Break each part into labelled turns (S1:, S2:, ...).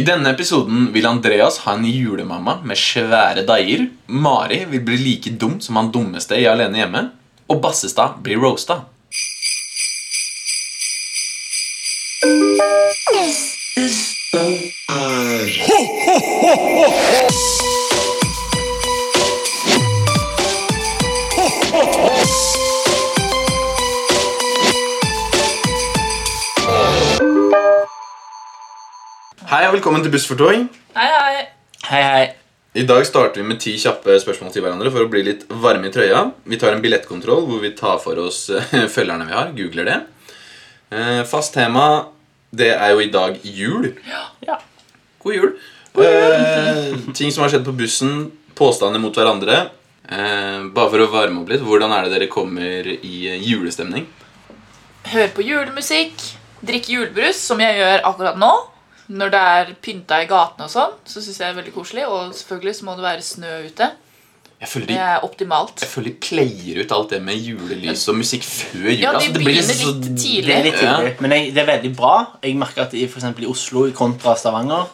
S1: I denne episoden vil Andreas ha en julemamma med svære deier. Mari vil bli like dum som han dummeste i Alene hjemme. Og Bassestad blir roasta. Hei og velkommen til Buss for tog.
S2: Hei, hei.
S3: Hei, hei.
S1: I dag starter vi med ti kjappe spørsmål til hverandre for å bli litt varme i trøya. Vi tar en billettkontroll hvor vi tar for oss eh, følgerne vi har. Googler det. Eh, Fast tema, det er jo i dag jul.
S3: Ja.
S1: God jul. Eh, ting som har skjedd på bussen, påstander mot hverandre. Eh, bare for å varme opp litt, hvordan er det dere kommer i eh, julestemning?
S2: Hør på julemusikk, drikk julebrus, som jeg gjør akkurat nå. Når det er pynta i gatene og sånn, så syns jeg det er veldig koselig. Og selvfølgelig så må det være snø ute.
S1: Jeg føler
S2: Det
S1: de,
S2: er optimalt.
S1: jeg føler de pleier ut alt det med julelys og musikk før jul.
S2: Ja, de
S1: altså, det blir
S2: begynner
S1: liksom
S2: litt
S1: så-
S3: Det er
S2: tidlig.
S3: litt tidlig, men jeg, det er veldig bra. Jeg merker at i, for eksempel i Oslo kontra Stavanger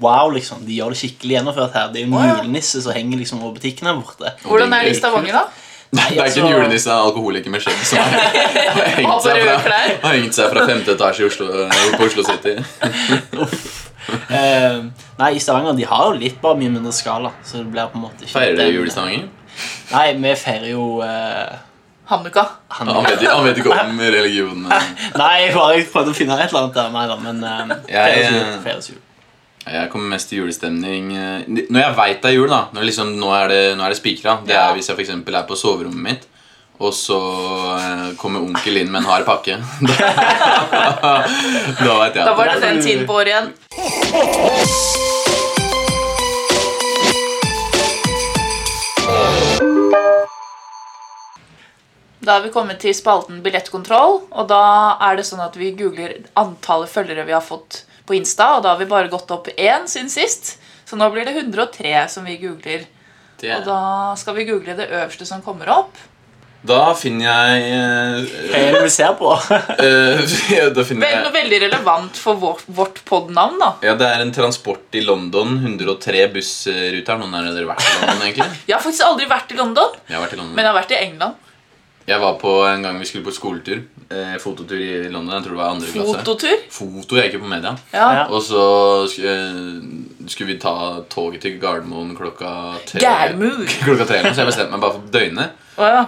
S3: Wow, liksom, De gjør det skikkelig gjennomført her. Det er jo en
S2: Å, ja.
S3: julenisse som henger liksom over butikken her borte.
S2: Hvordan er det i Stavanger, da?
S1: Det er ikke en
S3: altså-
S1: julenisse, det er en alkoholiker med skjegg som har har hengt seg
S2: røde
S1: fra,
S2: klær.
S1: har hengt seg fra femte etasje i Oslo, eh, på Oslo City.
S3: Eh, nei, i Stavanger de har jo litt bare mye mindre skala. Så det blir på en måte ikke
S1: Feirer dere
S3: den-
S1: jul i Stavanger?
S3: Nei, vi feirer jo eh,
S2: Hanukka.
S3: han,
S1: Ja, Han vet, han vet ikke om religionen. eh.
S3: Nei, jeg bare prøvde å finne et eller annet der. Nei da, men eh,
S1: Jeg,
S3: feires jul.
S1: eh,
S3: Feires jul.
S1: Jeg kommer mest til julestemning eh, Når jeg veit det er jul, da. Når liksom, nå er det, nå er det spikra. Det
S2: Ja.
S1: er hvis jeg for eksempel er på soverommet mitt, og så eh, kommer onkel inn med en hard pakke. Da, da veit jeg.
S2: Da
S1: at
S2: var det den tiden på året igjen. Da har vi kommet til spalten billettkontroll, og da er det sånn at vi googler antallet følgere vi har fått på Insta, og da har vi bare gått opp én siden sist, så nå blir det 103 som vi googler.
S1: det-
S2: Og da skal vi google det øverste som kommer opp.
S1: Da finner jeg
S3: Hva er det vi ser på?
S1: eh, eh, Da finner
S2: Vel, noe
S1: jeg
S2: veldig relevant for vårt, vårt podnavn, da.
S1: ja, Det er en transport i London. 103 bussruter. Har Noen av dere vært i London, egentlig?
S2: Jeg har faktisk aldri vært i London,
S1: Jeg har vært i London.
S2: men jeg har vært i England.
S1: Jeg var på en gang vi skulle på skoletur. Eh, fototur i London. Jeg tror det var andre klasse.
S2: Fototur.
S1: Foto jeg gikk jo på media.
S2: Ja.
S3: Ja.
S1: Og så sk- eh, skulle vi ta toget til Gardermoen klokka tre.
S2: Gardermoen.
S1: klokka tre eller noe, Så jeg bestemte meg bare for døgnet.
S2: Å ja.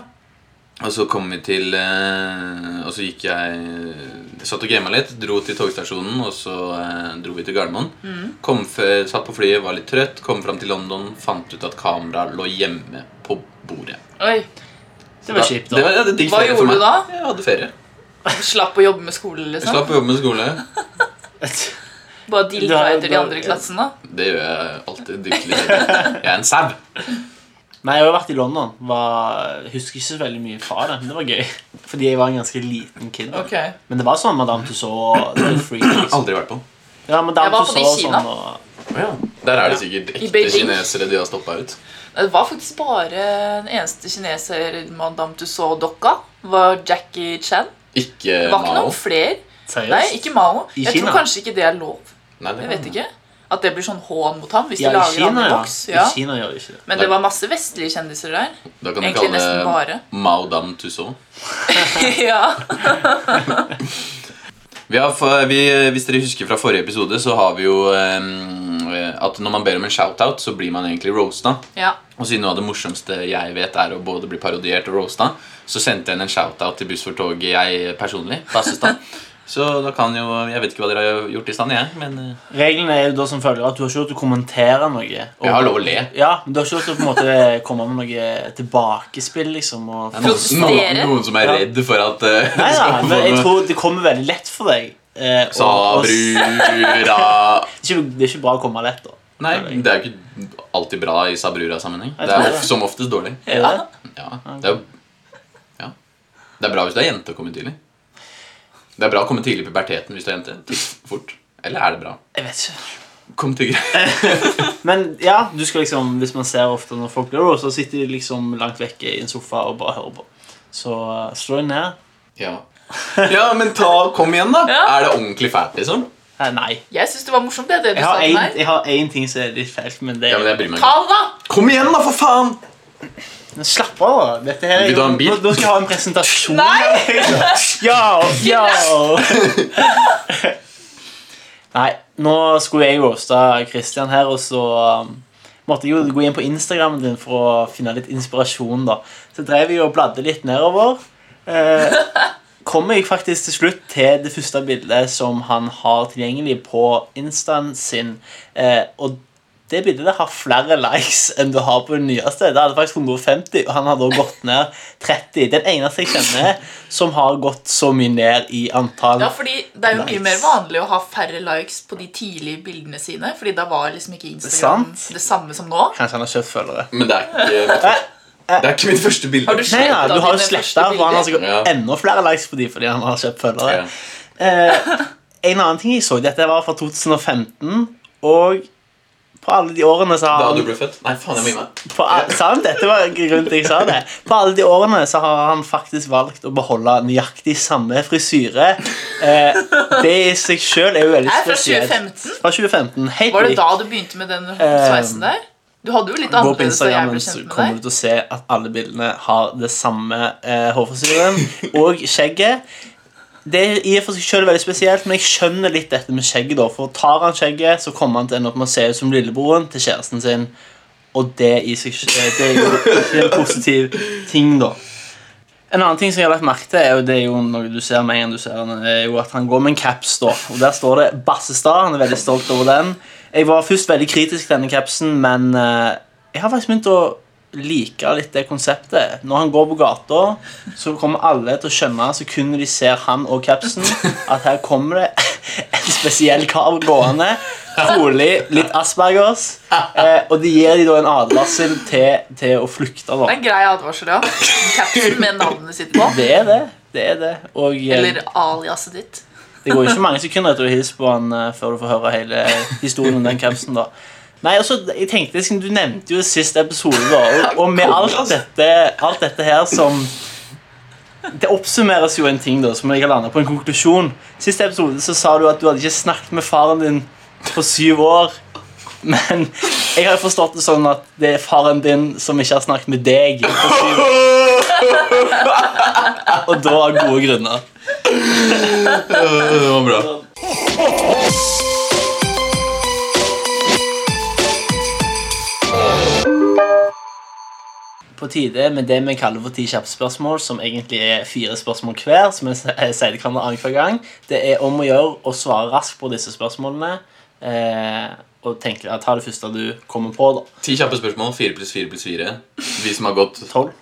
S1: Og så kom vi til eh, Og så gikk jeg Satt og gama litt, dro til togstasjonen, og så eh, dro vi til Gardermoen.
S2: Mm.
S1: Kom før, satt på flyet, var litt trøtt, kom fram til London, fant ut at kameraet lå hjemme på bordet.
S2: Oi.
S3: Det var kjipt.
S1: Det
S3: da.
S1: var, ja, det er digg
S2: Hva
S1: ferie for
S2: gjorde
S1: meg.
S2: du da?
S1: Jeg hadde ferie.
S2: Slapp å jobbe med skole,
S1: Jeg
S2: liksom?
S1: slapp å jobbe med skole.
S2: Bare dilta
S3: Du har-
S2: etter de
S3: du har-
S2: andre i klassen, da?
S1: Det gjør jeg alltid. Dykkelig. Jeg er en sau.
S3: Nei, jeg har jo vært i London. Var, husker ikke så veldig mye fra det, men det var gøy. Fordi jeg var en ganske liten kid.
S2: Ok.
S3: Men det var sånn Madame Tussauds The Freak. Liksom.
S1: Aldri vært på.
S3: Ja, Madame
S2: Jeg var på de i
S3: Tussauds og
S2: Kina.
S3: sånn, og,
S1: Der er det sikkert
S2: I
S1: ekte
S2: Beijing.
S1: kinesere de har stoppa ut.
S2: Det var faktisk bare den eneste kineser Madame Tussauds-dokka. Var Jackie Chan.
S1: Ikke
S2: Det var ikke
S1: Mao.
S2: noen flere. Nei,
S3: Seriøst?
S2: ikke Mao.
S3: I
S2: Jeg tror
S3: Kina?
S2: kanskje ikke det er lov.
S1: Nei, det
S2: Jeg
S1: kan
S2: vet
S1: hende.
S2: ikke. At det blir sånn hån mot ham hvis
S3: ja,
S2: de
S3: i
S2: lager
S3: Kina,
S2: ham i
S3: ja.
S2: boks. Ja.
S3: I Kina gjør de ikke det.
S2: Men det var masse vestlige kjendiser der.
S1: Da kan du
S2: Egentlig nesten
S1: kalle
S2: bare.
S1: det Mao Dam Tussauds.
S2: ja.
S1: Vi har, fa- vi, hvis dere husker fra forrige episode, så har vi jo eh, at når man ber om en shout-out, så blir man egentlig roasta.
S2: ja.
S1: Og siden noe av det morsomste jeg vet, er å både bli parodiert og roasta, så sendte jeg henne en shout-out til Buss for toget, jeg personlig. på Assestad. Så da kan jo Jeg vet ikke hva dere har gjort i stand, jeg, men eh,
S3: Reglene er jo da som følger at du har ikke lov til å kommentere noe. og-
S1: jeg har lov å le.
S3: Ja, men du har ikke lov til å på en måte komme med noe tilbakespill, liksom. Og,
S1: Det er noen, noen,
S2: Protestere?
S1: noen som er redd for at eh,
S3: nei da,
S1: skal
S3: men
S1: få
S3: jeg
S1: noe-
S3: tror det kommer veldig lett for deg. Eh, og- og s-
S1: Sabrura
S3: ikke- det er ikke bra å komme lett, da.
S1: Nei, det er jo ikke alltid bra i Sabrura-sammenheng.
S3: Jeg
S1: Det er
S3: tror
S1: of,
S3: det.
S1: som oftest dårlig.
S3: Er det?
S1: Ja, det er jo ja. Det er bra hvis du er jente og kommer tidlig. Det er bra å komme tidlig i puberteten hvis du er jente. Tiss fort. Eller er det bra?
S3: Jeg vet ikke.
S1: Kom til gre-
S3: Men ja, du skal liksom, hvis man ser ofte når folk blir rosa, så sitter de liksom langt vekke i en sofa og bare hører på. Så eh, slå deg ned.
S1: Ja. ja, men ta, kom igjen, da.
S2: Ja.
S1: Er det ordentlig fælt, liksom?
S3: Eh, nei.
S2: Jeg syns det var morsomt, det, det du
S3: Jeg
S2: sa
S3: har
S2: til
S3: en-
S2: meg.
S3: jeg har én ting som er litt feil, men det
S1: Ja, men jeg bryr meg ikke.
S2: Tall, da!
S1: Kom igjen, da, for faen!
S3: Men Slapp av, da. Dette her,
S1: Vil du ha en bil?
S3: Nå, nå skal jeg ha en presentasjon.
S2: Nei!
S3: Ja, ja. Nei, nå skulle jeg roaste Christian her, og så um, måtte jeg jo gå inn på Instagrammen din for å finne litt inspirasjon. da. Så drev jeg og bladde litt nedover. Eh, kommer jeg faktisk til slutt til det første bildet som han har tilgjengelig på Instaen sin. Eh, og det bildet der har flere likes enn du har på det nyeste. Det hadde faktisk 150, og han har da gått ned 30. Den eneste jeg kjenner som har gått så mye ned i antall.
S2: Ja, fordi Det er jo mye
S3: Likes.
S2: mer vanlig å ha færre likes på de tidlige bildene sine. Fordi da var liksom ikke Instagram
S3: Sant.
S2: det samme som nå.
S3: Kanskje han har kjøpt følgere.
S1: Men det er ikke, det er ikke mitt første bilde.
S2: Har du
S3: Nei, ja,
S2: slettet
S3: du har jo
S2: dine
S3: sletta,
S2: første
S3: for han
S2: bilder?
S3: har sikkert
S1: Ja.
S3: enda flere likes på de fordi han har kjøpt
S1: Ja.
S3: følgere. Eh, en annen ting jeg så, dette var fra 2015, og på alle de årene så har
S1: Da
S3: han
S1: du ble født? Nei, faen, jeg må gi meg.
S3: på al sant? Dette var grunnen til jeg sa det. På alle de årene så har han faktisk valgt å beholde nøyaktig samme frisyre. Eh, det i seg sjøl er jo veldig
S2: Er fra
S3: spesielt.
S2: 2015?
S3: Fra 2015. Helt
S2: Var det
S3: likt.
S2: da du begynte med den sveisen der? Du hadde jo litt
S3: Eh, Gå på
S2: annerledes da jeg
S3: Instagram,
S2: ble
S3: så
S2: kjent
S3: kommer
S2: med deg.
S3: du til å se at alle bildene har det samme eh, hårfrisyren og skjegget. Det er i og for seg selv veldig spesielt, men jeg skjønner litt dette med skjegget. da For Tar han skjegget, så kommer han til å ende opp med å se ut som lillebroren til kjæresten sin. Og det i seg selv eh, Det er jo det er en positiv ting, da. En annen ting som jeg har lagt merke til, er jo det er jo noe du ser med en gang du ser han, er jo at han går med en caps. da Og Der står det Bassestad. Han er veldig stolt over den. Jeg var først veldig kritisk til denne capsen, men eh, jeg har faktisk begynt å like litt det konseptet. Når han går på gata, så kommer alle til å skjønne, så kun de ser han og capsen, at her kommer det en spesiell kar gående. Trolig litt Aspergers. Eh, og de gir de da en advarsel til, til å flykte. da
S2: Det er en grei advarsel, ja. Capsen med navnet sitt på.
S3: det er det. Det er det. Og eh,
S2: Eller aliaset ditt.
S3: det går ikke mange sekunder etter å hilse på han eh, før du får høre hele historien om den capsen, da. Nei, altså, jeg tenkte, siden Du nevnte jo sist episode, da, og, og med alt dette, alt dette her som Det oppsummeres jo en ting da, som jeg har landa på en konklusjon. Sist episode så sa du at du hadde ikke snakket med faren din på syv år. Men jeg har jo forstått det sånn at det er faren din som ikke har snakket med deg på syv år. Og da av gode grunner.
S1: Øh, Det var bra.
S3: på tide med det vi kaller for ti kjappe spørsmål, som egentlig er fire spørsmål hver, som jeg s- eh, sier til hverandre annenhver gang. Det er om å gjøre å svare raskt på disse spørsmålene. Eh, og tenk, ja, ta det første du kommer på, da.
S1: Ti kjappe spørsmål. Fire pluss fire pluss fire. Vi som har gått
S3: Tolv?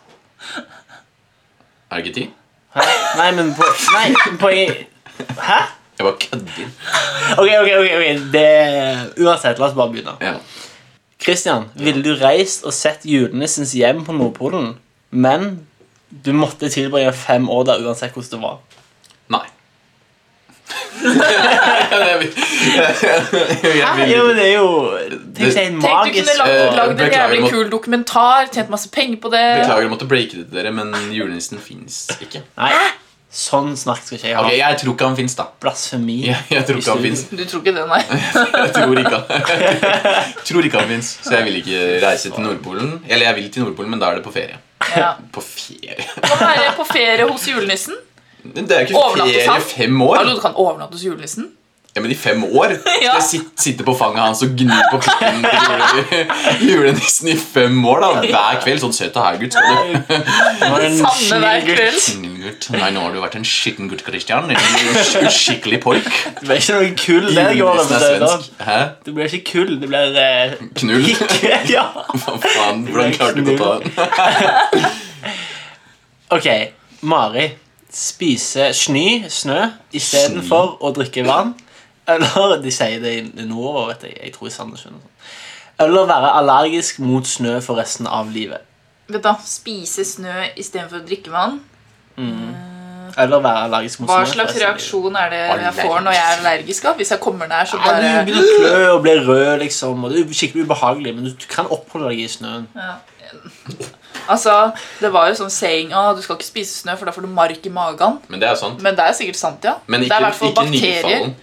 S1: Er det ikke ti?
S3: Hæ? Nei, men på, nei, på Hæ?
S1: Jeg bare kødder.
S3: Ok, ok, ok. ok, Det, uansett, la oss bare begynne.
S1: Ja.
S3: Christian, ville du reist og sett julenissens hjem på Nordpolen, men du måtte tilbringe fem år der uansett hvordan det var?
S1: Nei. jeg vil, jeg vil.
S3: Ja, men det er jo Tenk, det er en
S2: Tenk, du
S3: magisk eh,
S2: kunne lagd, lagd en
S1: beklager,
S2: jævlig
S1: må-
S2: kul dokumentar, tjent masse penger på det.
S1: Beklager å måtte breake det til dere, men julenissen fins ikke.
S3: Nei, sånn snakk skal ikke jeg ha.
S1: Ok, Jeg tror ikke han fins, da.
S3: Blasfemi.
S1: Jeg, jeg tror ikke han
S3: Hvis
S1: finnes.
S3: du-
S2: Du tror ikke det, nei?
S1: Jeg tror ikke han Tror ikke han finnes. Så jeg vil ikke reise til Nordpolen. Eller jeg vil til Nordpolen, men da er det på ferie.
S2: Ja.
S1: På ferie
S2: Kan være på ferie hos julenissen.
S1: Men Det er jo ikke ferie
S2: Overnatte hos
S1: i
S2: han.
S1: fem år.
S2: Hallo, du kan overnatte hos julenissen.
S1: Ja, Men i fem år skal
S2: Ja.
S1: jeg sitte, sitte på fanget hans og gni på pikken til jule- julenissen i fem år. da Hver kveld. Sånn søt og her, gutt. Skal du
S3: Det var en
S2: Samme hver
S3: snill gutt.
S2: kveld.
S1: Gutt. Nei, nå har du vært en skitten gutt, Christian. En uskikkelig pork.
S3: Det ble ikke noe kull det går over
S1: Julenissen er
S3: det, da.
S1: svensk. Hæ?
S3: Det blir ikke kull, det blir eh,
S1: Knull?
S3: pikk. ja.
S1: Hva faen? Hvordan klarte du ikke å ta den?
S3: Ok, Mari. Spise snø, snø istedenfor å drikke vann. Eller de sier det i nordover, vet jeg. Jeg tror i Sandnessjøen og sånn. Eller være allergisk mot snø for resten av livet.
S2: Vet du, Spise snø istedenfor å drikke vann.
S3: Eller være allergisk mot
S2: Hva
S3: snø.
S2: slags
S3: for resten av livet.
S2: reaksjon er det jeg får når jeg er allergisk? av? Hvis jeg kommer nær, så
S3: Ja,
S2: bare
S3: Du begynner å klø og bli rød, liksom. Og det er skikkelig ubehagelig, men du kan oppholde deg i snøen.
S2: Altså, Det var jo sånn saying at du skal ikke spise snø, for da får du mark i magen.
S1: Men det er sant.
S2: Men det er sikkert sant, ja.
S1: Men
S2: det
S1: ikke,
S2: er i hvert fall
S1: ikke
S2: bakterier.
S1: nyfallen.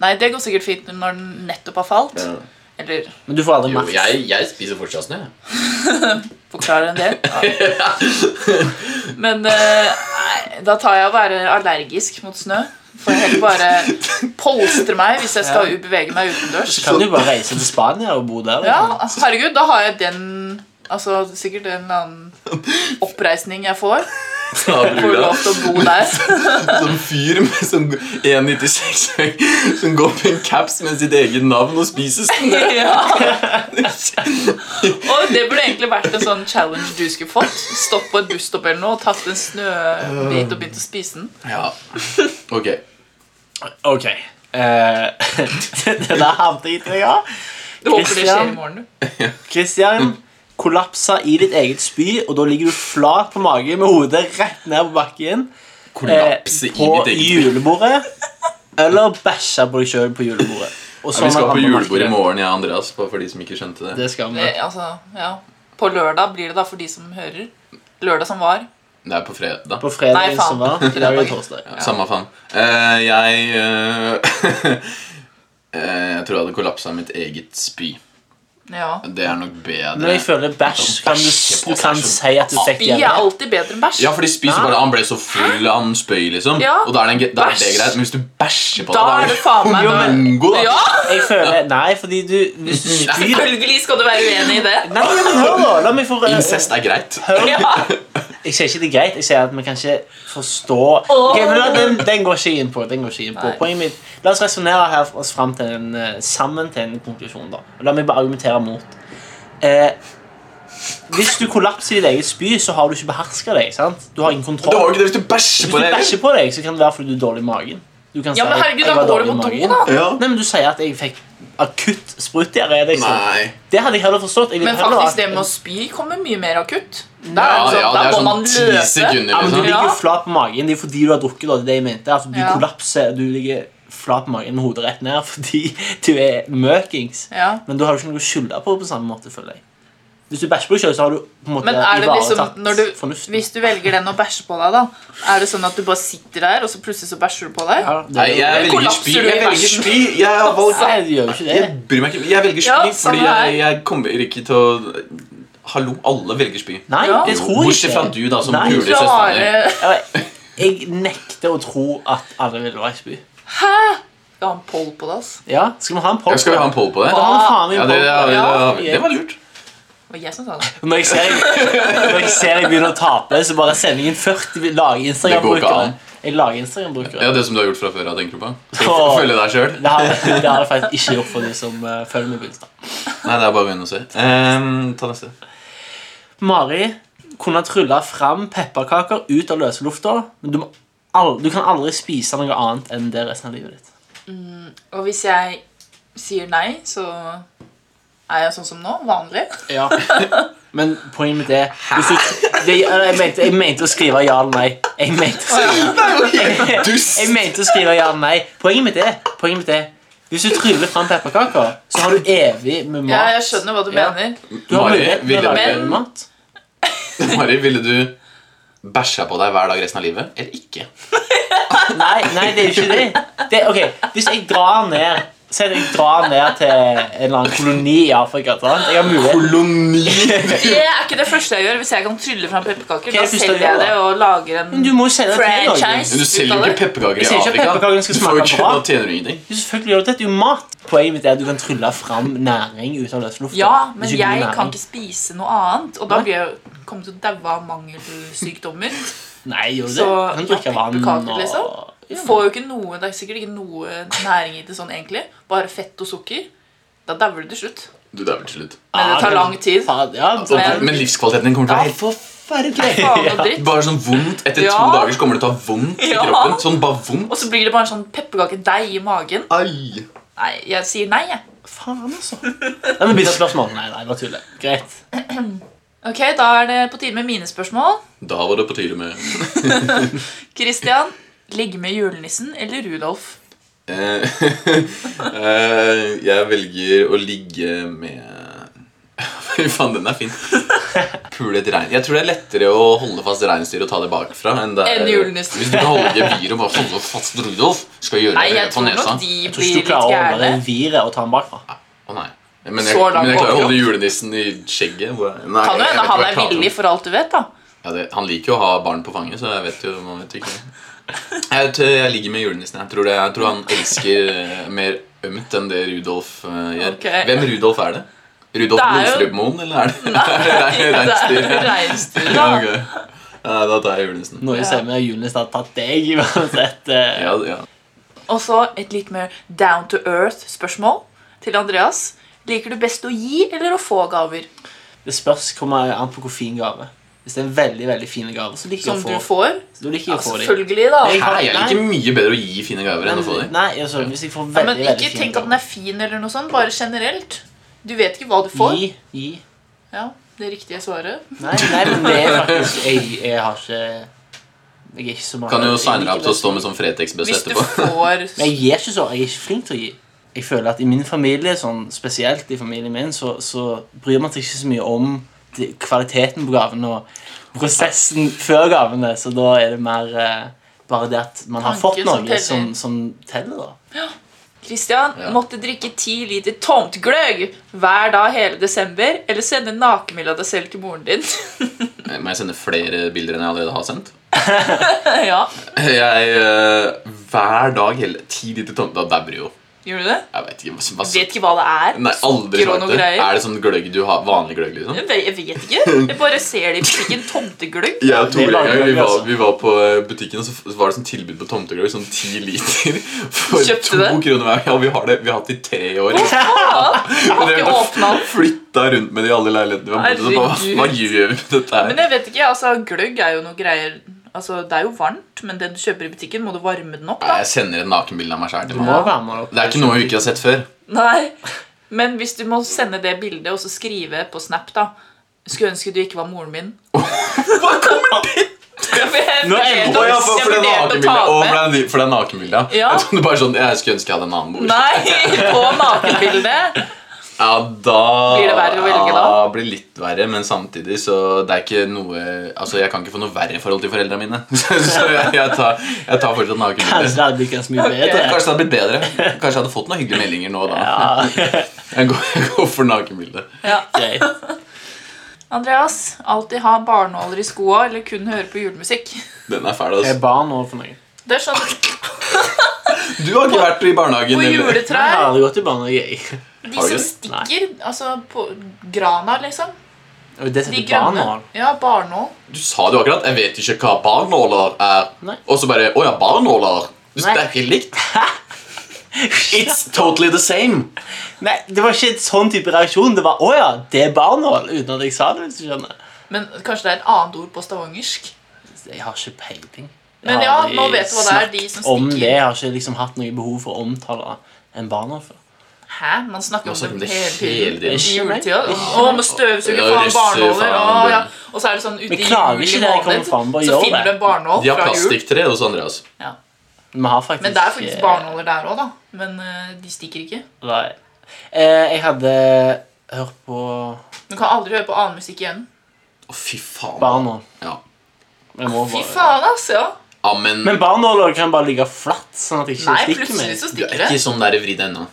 S2: Nei, det går sikkert fint når den nettopp har falt.
S1: Ja.
S2: Eller
S3: Men du får aldri
S1: Jo,
S3: maks.
S1: jeg, jeg spiser fortsatt snø. jeg.
S2: forklarer en del. Men eh, nei, da tar jeg å være allergisk mot snø. Får jeg heller bare polstre meg hvis jeg skal u- bevege meg utendørs.
S3: Kan du jo bare reise til Spania og bo der?
S2: Ja,
S3: liksom?
S2: altså, herregud, da har jeg den Altså sikkert en eller annen oppreisning jeg får.
S1: Da
S2: Får
S1: brura.
S2: lov til å bo der.
S1: Som fyr med som 1,96 som går på en caps med sitt eget navn og spiser snø.
S2: Ja. Og det burde egentlig vært en sånn challenge du skulle fått. Stått på et busstopp eller noe og tatt en snøbit og begynt å spise den.
S1: Ja. Ok.
S3: Ok. Eh, det der havnet jeg i, ja.
S2: Du håper det skjer
S3: Christian?
S2: i morgen, du.
S3: Christian
S1: Mm.
S3: kollapsa i ditt eget spy, og da ligger du flat på magen med hodet rett ned på bakken eh,
S1: Kollapse i
S3: på
S1: mitt eget
S3: julebordet. Eller bæsja på deg sjøl på julebordet. Og
S1: Vi skal
S3: har
S1: på
S3: han
S1: julebord i
S3: markedet.
S1: morgen, jeg og Andreas, bare for de som ikke skjønte det.
S3: Det skal vi.
S2: Det, altså, ja. På lørdag blir det da for de som hører. Lørdag som var.
S1: Det er på fredag.
S3: På fredag
S2: Nei, faen.
S3: som var. I dag er det torsdag.
S1: Ja, Samme faen. Eh, jeg eh, eh, Jeg tror jeg hadde kollapsa mitt eget spy.
S2: Ja.
S1: Det er nok
S3: Men
S1: bedre.
S3: jeg føler bæsj kan du, du kan si at du fikk
S2: Bi er
S3: hjemme.
S2: alltid bedre enn bæsj.
S1: Ja, fordi spy så bare Han ble så full, han spøy, liksom.
S2: Ja.
S1: Og da er, det en, da er det
S2: Bæsj.
S1: greit. Men hvis du bæsjer på
S2: Da
S1: det,
S2: er det faen meg
S1: Jo, men- mongo, da.
S2: Ja,
S3: Jeg føler, Nei, fordi du Hvis du spyr
S2: Selvfølgelig skal du være uenig i det.
S3: Nei, men hør da, la meg få
S1: Incest er greit.
S2: Ja.
S3: Jeg sier ikke det er greit, jeg sier at vi kan ikke forstå Ok, men la, den, den går ikke inn på. Den går ikke inn på.
S2: Nei.
S3: Poenget mitt La oss resonnere her oss fram til en, eh, sammen til en konklusjon, da. Og La meg bare argumentere mot. Eh, hvis du kollapser i ditt eget spy, så har du ikke beherska deg. sant? Du har ingen
S1: Det var jo
S3: kontroll.
S1: ikke det hvis du bæsjer
S3: Hvis du
S1: på det. eller?
S3: bæsjer på deg, så kan det være fordi du er dårlig i magen. Du kan
S2: ja, men
S3: at
S2: herregud,
S3: jeg
S2: da
S3: var
S2: går du
S3: dårlig i
S2: på do,
S3: magen.
S2: da.
S1: Ja.
S3: Nei, men Du sier at jeg fikk akutt sprutdiaré. Liksom.
S1: Nei.
S3: Det hadde jeg heller forstått. Jeg vil
S2: Men
S3: heller
S2: faktisk
S3: at-
S2: det med å spy kommer mye mer akutt. Da
S1: Ja,
S2: er det sånn,
S1: ja,
S2: da
S1: det er
S2: må
S1: sånn
S2: man
S1: ti
S2: løpe.
S1: sekunder,
S3: Ja, men
S1: liksom.
S3: du
S2: Ja.
S3: ligger jo flat på magen. Det er fordi du har drukket. Da, det er det jeg mente. Altså, du
S2: Ja.
S3: kollapser, du ligger flat på magen med hodet rett ned fordi du er møkings.
S2: Ja.
S3: Men du har jo ikke noe å skylde på på samme måte, føler jeg. Hvis du bæsjer på deg selv, så har du på en måte
S2: Men er det
S3: ivaretatt
S2: liksom når du,
S3: fornuften.
S2: Hvis du velger den å bæsje på deg, da, er det sånn at du bare sitter der, og så plutselig så bæsjer du på deg?
S3: Ja, det-
S1: Nei, jeg
S2: vil-
S1: velger
S2: Kollapser
S1: spy.
S2: du i
S1: Jeg velger
S2: bæsjen?
S1: spy. Jeg har valgt
S3: Nei, du gjør jo ikke det.
S1: Jeg bryr meg ikke. Jeg velger spy
S2: Ja,
S1: fordi
S2: samme her.
S1: jeg, jeg kommer ikke til å Hallo, alle velger spy.
S3: Nei,
S2: Ja.
S3: det
S1: Jo,
S3: tror jeg
S1: bortsett
S3: ikke.
S1: fra du da, som
S3: Nei.
S1: puler
S2: Klare-
S1: søsteren din.
S2: eh,
S3: Jeg, jeg nekter å tro at alle vil være i spy.
S2: Skal ha en poll på altså. det, ass.
S3: Ja, skal vi ha en
S1: Ja,
S3: poll?
S1: skal vi ha en poll på det?
S3: Da har vi faen
S1: Ja, det,
S3: meg en
S1: ja,
S3: poll.
S1: det,
S2: Ja.
S1: det, det var lurt.
S2: Det var jeg som sa det.
S3: Når jeg ser når jeg, ser jeg begynner å tape, så bare sender jeg inn
S1: Det
S3: 40 lager
S1: går ikke
S3: Instagram-brukere.
S1: an.
S3: Jeg lager Instagram-brukere.
S1: Ja, Det som du har gjort fra før av, tenker du på? Skal
S3: Åh.
S1: du følge deg sjøl?
S3: Det har, det har jeg faktisk ikke gjort for de som eh, følger med på Insta.
S1: Nei, det er bare å begynne å se. Ehm, ta neste.
S3: Mari kunne trylle fram pepperkaker ut av løse lufta, men du, må al du kan aldri spise noe annet enn det resten av livet ditt.
S2: Og hvis jeg sier nei, så er jeg sånn som nå. Vanlig.
S3: Ja. Men poenget mitt er hvis du, det, eller jeg, mente, jeg mente å skrive ja eller nei. Jeg mente å skrive, jeg, jeg mente å skrive ja eller nei. Poenget mitt er, poenget mitt er hvis du tryller fram pepperkaker, så har du evig med mat.
S2: Ja, jeg skjønner hva du
S3: Ja.
S2: mener.
S3: Du har
S1: Mari,
S3: mulighet til
S1: ville
S3: å lage
S2: Men-
S3: evig mat.
S1: Mari, ville du bæsja på deg hver dag resten av livet? Eller ikke?
S3: Nei, nei, det er jo ikke det. det ok, Hvis jeg drar ned Si at jeg drar ned til en eller annen koloni i Afrika. Sant? Jeg har mulighet
S1: Koloni!
S2: Det er ikke det første jeg gjør. Hvis jeg kan trylle fram pepperkaker, da
S3: Hva er det første
S2: selger
S3: du
S2: jeg
S3: gjør,
S2: det
S3: da?
S2: og lager en
S3: Men du må jo selge det til Norge.
S2: franchise
S1: Men du
S2: ut av
S1: selger
S2: det.
S1: ikke pepperkaker i
S3: Jeg sier ikke at
S1: Afrika.
S3: pepperkakene skal
S1: Du får jo
S3: smake
S1: ikke-
S3: bra.
S1: Da tjener du ingenting.
S3: Du selvfølgelig gjør det, det er jo mat. Poenget mitt er at du kan trylle fram næring ut av løs luft.
S2: Ja,
S3: Det
S2: men
S3: er ikke god
S2: jeg
S3: næring.
S2: kan ikke spise noe annet, og da
S3: Nei.
S2: blir jeg jo- kommer jeg til å daue av mangelsykdommer.
S3: Nei, gjør du det?
S2: Så
S3: Du kan drikke vann
S2: pepperkaker,
S3: og
S2: liksom? Du får jo ikke noe, Det er sikkert ikke noe næring i det sånn, egentlig. Bare fett og sukker. Da dauer du til slutt.
S1: Du, det er vel til slutt.
S2: Men det tar lang tid. Altså,
S3: Faen, Ja,
S1: Og-
S2: Men-
S1: Men livskvaliteten din kommer til å være helt
S2: Faen
S1: forferdelig.
S2: og dritt.
S1: Bare sånn vondt. Etter
S2: Ja.
S1: to dager så kommer det til å ha vondt i
S2: Ja.
S1: kroppen. Sånn bare vondt.
S2: Og så blir det bare en sånn pepperkakedeig i magen.
S1: Ai.
S2: Nei, jeg sier nei, jeg.
S3: faen altså. Nei, men Bytt spørsmål. Nei, nei, bare tuller. Greit.
S2: Ok, Da er det på tide med mine spørsmål.
S1: Da var det på tide med
S2: Christian, ligge med julenissen eller Rudolf?
S1: Eh, eh, Jeg velger å ligge med Fy faen, den er fin. Pule et rein. Jeg tror det er lettere å holde fast reinsdyret og ta det bakfra enn det er
S2: Enn julenissen.
S1: Hvis du kan holde geviret og bare holde fast Rudolf, skal gjøre
S2: Nei,
S1: det
S2: jeg
S1: på
S2: tror nok
S1: nesa.
S2: de
S3: Jeg tror
S2: blir
S3: ikke
S2: litt
S3: du klarer å holde
S2: gærne.
S3: den viret og ta den bakfra.
S1: Å nei. Men jeg,
S2: Så langt
S1: men jeg klarer å holde
S2: overkropp.
S1: julenissen i skjegget. Hvor jeg, nei,
S2: Kan jo
S1: jeg
S2: hende
S1: vet
S2: han
S1: ikke hva jeg
S2: er
S1: prater om.
S2: villig, for alt du vet, da.
S1: Ja, det, han liker jo å ha barn på fanget, så jeg vet jo man vet ikke. Jeg, t- jeg ligger med julenissen. Jeg tror, det, jeg tror han elsker eh, mer ømt enn det Rudolf eh, gjør.
S2: Ok.
S1: Hvem Rudolf er det? Rudolf
S2: Det er jo-
S1: Blomstrupmoen, eller er det- er det
S2: Det er
S1: reinsdyret?
S2: reinsdyr,
S1: Ja,
S2: da.
S1: ok. Nei, da tar jeg julenissen.
S3: Noe
S2: Ja.
S3: som er med julenissen har tatt deg uansett. eh.
S1: Ja, ja.
S2: Og så et litt mer down to earth-spørsmål til Andreas. Liker du best å gi eller å få gaver?
S3: Det spørs kommer an på hvor fin gave. Hvis det er en veldig veldig fin gave, så liker
S2: Som
S3: jeg
S2: du
S3: å få,
S2: får?
S3: så liker
S2: Ja,
S3: jeg å få dem.
S2: selvfølgelig, da.
S3: Jeg
S1: Hæ, jeg liker mye bedre å gi fine gaver enn å få dem.
S3: Nei, altså, hvis jeg får
S2: Ja,
S3: veldig,
S2: men
S3: veldig
S2: ikke
S3: fin
S2: tenk at den er fin, eller noe sånt, bare generelt. Du vet ikke hva du får.
S3: Gi, gi.
S2: Ja, Det riktige svaret.
S3: Nei, nei, men det er faktisk Jeg, jeg har ikke Jeg er ikke så mange
S1: Kan jo
S3: jeg
S1: signe deg
S3: liker
S1: opp til å
S3: best-
S1: stå med sånn Fretex-bøsse
S2: Hvis du
S1: etterpå.
S2: får
S3: Men jeg gir ikke så, jeg er ikke flink til å gi. Jeg føler at i min familie, sånn, spesielt i familien min, så, så bryr man seg ikke så mye om de, kvaliteten på gavene og prosessen før gavene, så da er det mer eh, bare det at man har
S2: Tanken
S3: fått
S2: som
S3: noe
S2: teller.
S3: som, som teller, da.
S2: Christian
S1: Ja.
S2: måtte drikke ti liter tomt gløgg hver dag hele desember, eller sende nakenbilde av deg selv til moren din.
S1: Må jeg sende flere bilder enn jeg allerede har sendt?
S2: ja,
S1: Jeg, eh, Hver dag hele ti liter tomter, da dauer jo.
S2: Gjorde du det?
S1: Jeg vet ikke hva,
S3: Altså-
S1: hva
S2: Vet ikke hva det er.
S1: Nei, aldri
S2: Sukker og
S1: smakt
S2: noe
S1: det.
S2: greier.
S1: Er det sånn gløgg du har? Vanlig gløgg, liksom?
S2: Jeg vet jeg vet ikke. Jeg bare ser det i butikken. Tomtegløgg.
S1: Jeg og
S3: det er
S1: Tore en gang, vi
S3: vanlig,
S1: var,
S3: altså.
S1: vi var på eh, butikken, og så f- var det sånn tilbud på tomtegløgg. Sånn ti liter for
S2: Kjøpte
S1: to
S2: det?
S1: kroner hver. Ja, vi har det vi har hatt det i tre år. liksom.
S2: Hva faen? Jeg
S1: Og
S2: har
S1: det
S2: ikke åpna den.
S1: Flytta rundt med det i alle leilighetene vi har bodd i. så Hva,
S2: Herregud.
S1: hva gjør vi med dette her?
S2: Men jeg vet ikke, altså gløgg er jo noe greier Altså, Det er jo varmt, men det du kjøper i butikken, må du varme den opp.
S1: Nei,
S2: da
S1: Jeg sender et nakenbilde av meg sjæl til
S3: Du må
S1: mamma.
S3: være med opp.
S1: Det er ikke noe vi ikke har sett før.
S2: Nei, Men hvis du må sende det bildet og så skrive på Snap, da Skulle ønske du ikke var moren min.
S1: Hva kommer
S2: Jeg vurderte-
S3: Nå
S1: Å
S3: er jeg-
S2: jeg
S1: ja, for, for det er
S2: vurderte å
S1: nakenbildet.
S2: ta
S1: Å,
S2: den
S1: for
S2: med.
S1: det er- for det er nakenbildet.
S2: Ja.
S1: Jeg trodde bare sånn Jeg skulle ønske jeg hadde en annen mor.
S2: Nei, på nakenbildet.
S1: Ja, da
S2: Blir det verre å velge, da?
S1: Ja, blir litt verre, men samtidig så det er ikke noe Altså, jeg kan ikke få noe verre forhold til foreldrene mine. Så, så jeg, jeg, tar, jeg tar fortsatt
S3: Kanskje
S1: nakenbilder.
S3: det hadde blitt ganske mye
S1: Kanskje
S2: Ok.
S3: bedre.
S1: det hadde blitt bedre. Kanskje jeg hadde fått noen hyggelige meldinger nå da.
S3: Ja,
S1: Jeg går, jeg går for nakenbilde.
S2: Ja.
S3: greit.
S2: Andreas, alltid ha barnåler i skoa eller kun høre på julemusikk.
S1: Den er fæl,
S3: Jeg er
S1: altså.
S3: barn nå for noe.
S2: Det er sånn
S1: Du har ikke vært i barnehagen? eller?
S2: på
S3: Nei, jeg har
S2: juletrær
S3: aldri gått i barnehage, jeg.
S2: De
S1: Har du
S2: som
S1: det?
S2: stikker, altså på grana, liksom.
S3: Og det
S2: De
S3: heter
S2: grønne.
S3: barnål.
S2: Ja, barnål.
S1: Du sa det jo akkurat. Jeg vet ikke hva barnåler er.
S3: Nei.
S1: Og så bare Å ja, barnåler. Det
S3: Nei.
S1: er helt likt. It's totally the same.
S3: Nei, det var ikke en sånn type reaksjon. Det var 'å ja, det er barnål', uten at jeg sa det. hvis du skjønner.
S2: Men kanskje det er et annet ord på stavangersk?
S3: Jeg har ikke peiling. Jeg
S2: Men
S3: har
S2: ja,
S3: aldri
S2: nå vet du hva det er, de som
S3: snakket om
S2: stikker.
S3: det. Jeg har ikke liksom hatt noe behov for å omtale en barn før.
S2: Hæ? Man snakker
S1: Man snakker
S2: om
S1: om
S2: det
S1: det
S2: hele
S1: hele
S2: tiden.
S1: tiden.
S2: I juletida. Å, må støvsuge,
S1: Ja,
S2: faen,
S1: russer,
S2: barnåler.
S1: faen,
S2: Å,
S1: det-
S2: ja. Og så er det sånn ute
S3: Men
S2: i
S3: klager
S2: juli
S3: ikke det, jeg
S2: måned,
S3: kommer faen på å
S2: så
S3: gjøre
S2: finner du
S3: det.
S2: en barnål
S1: De har
S2: fra jul.
S1: plastikktre hos Andreas.
S2: Ja.
S3: Vi har faktisk
S2: Men det er faktisk
S3: eh,
S2: barnåler der òg, da. Men eh, de stikker ikke.
S3: Nei. Eh, jeg hadde hørt på
S2: Du kan aldri høre på annen musikk igjen.
S1: Å, fy faen.
S3: barnål.
S1: Ja.
S3: Jeg må
S2: Fy
S3: bare.
S2: faen, altså. ja.
S1: Ja, men,
S3: Men barnåler kan bare ligge flatt, sånn at jeg ikke
S2: Nei,
S3: stikker
S2: plutselig
S3: meg.
S2: så
S1: du er
S2: stikker
S1: ikke
S2: det.
S1: sånn der vridd ennå.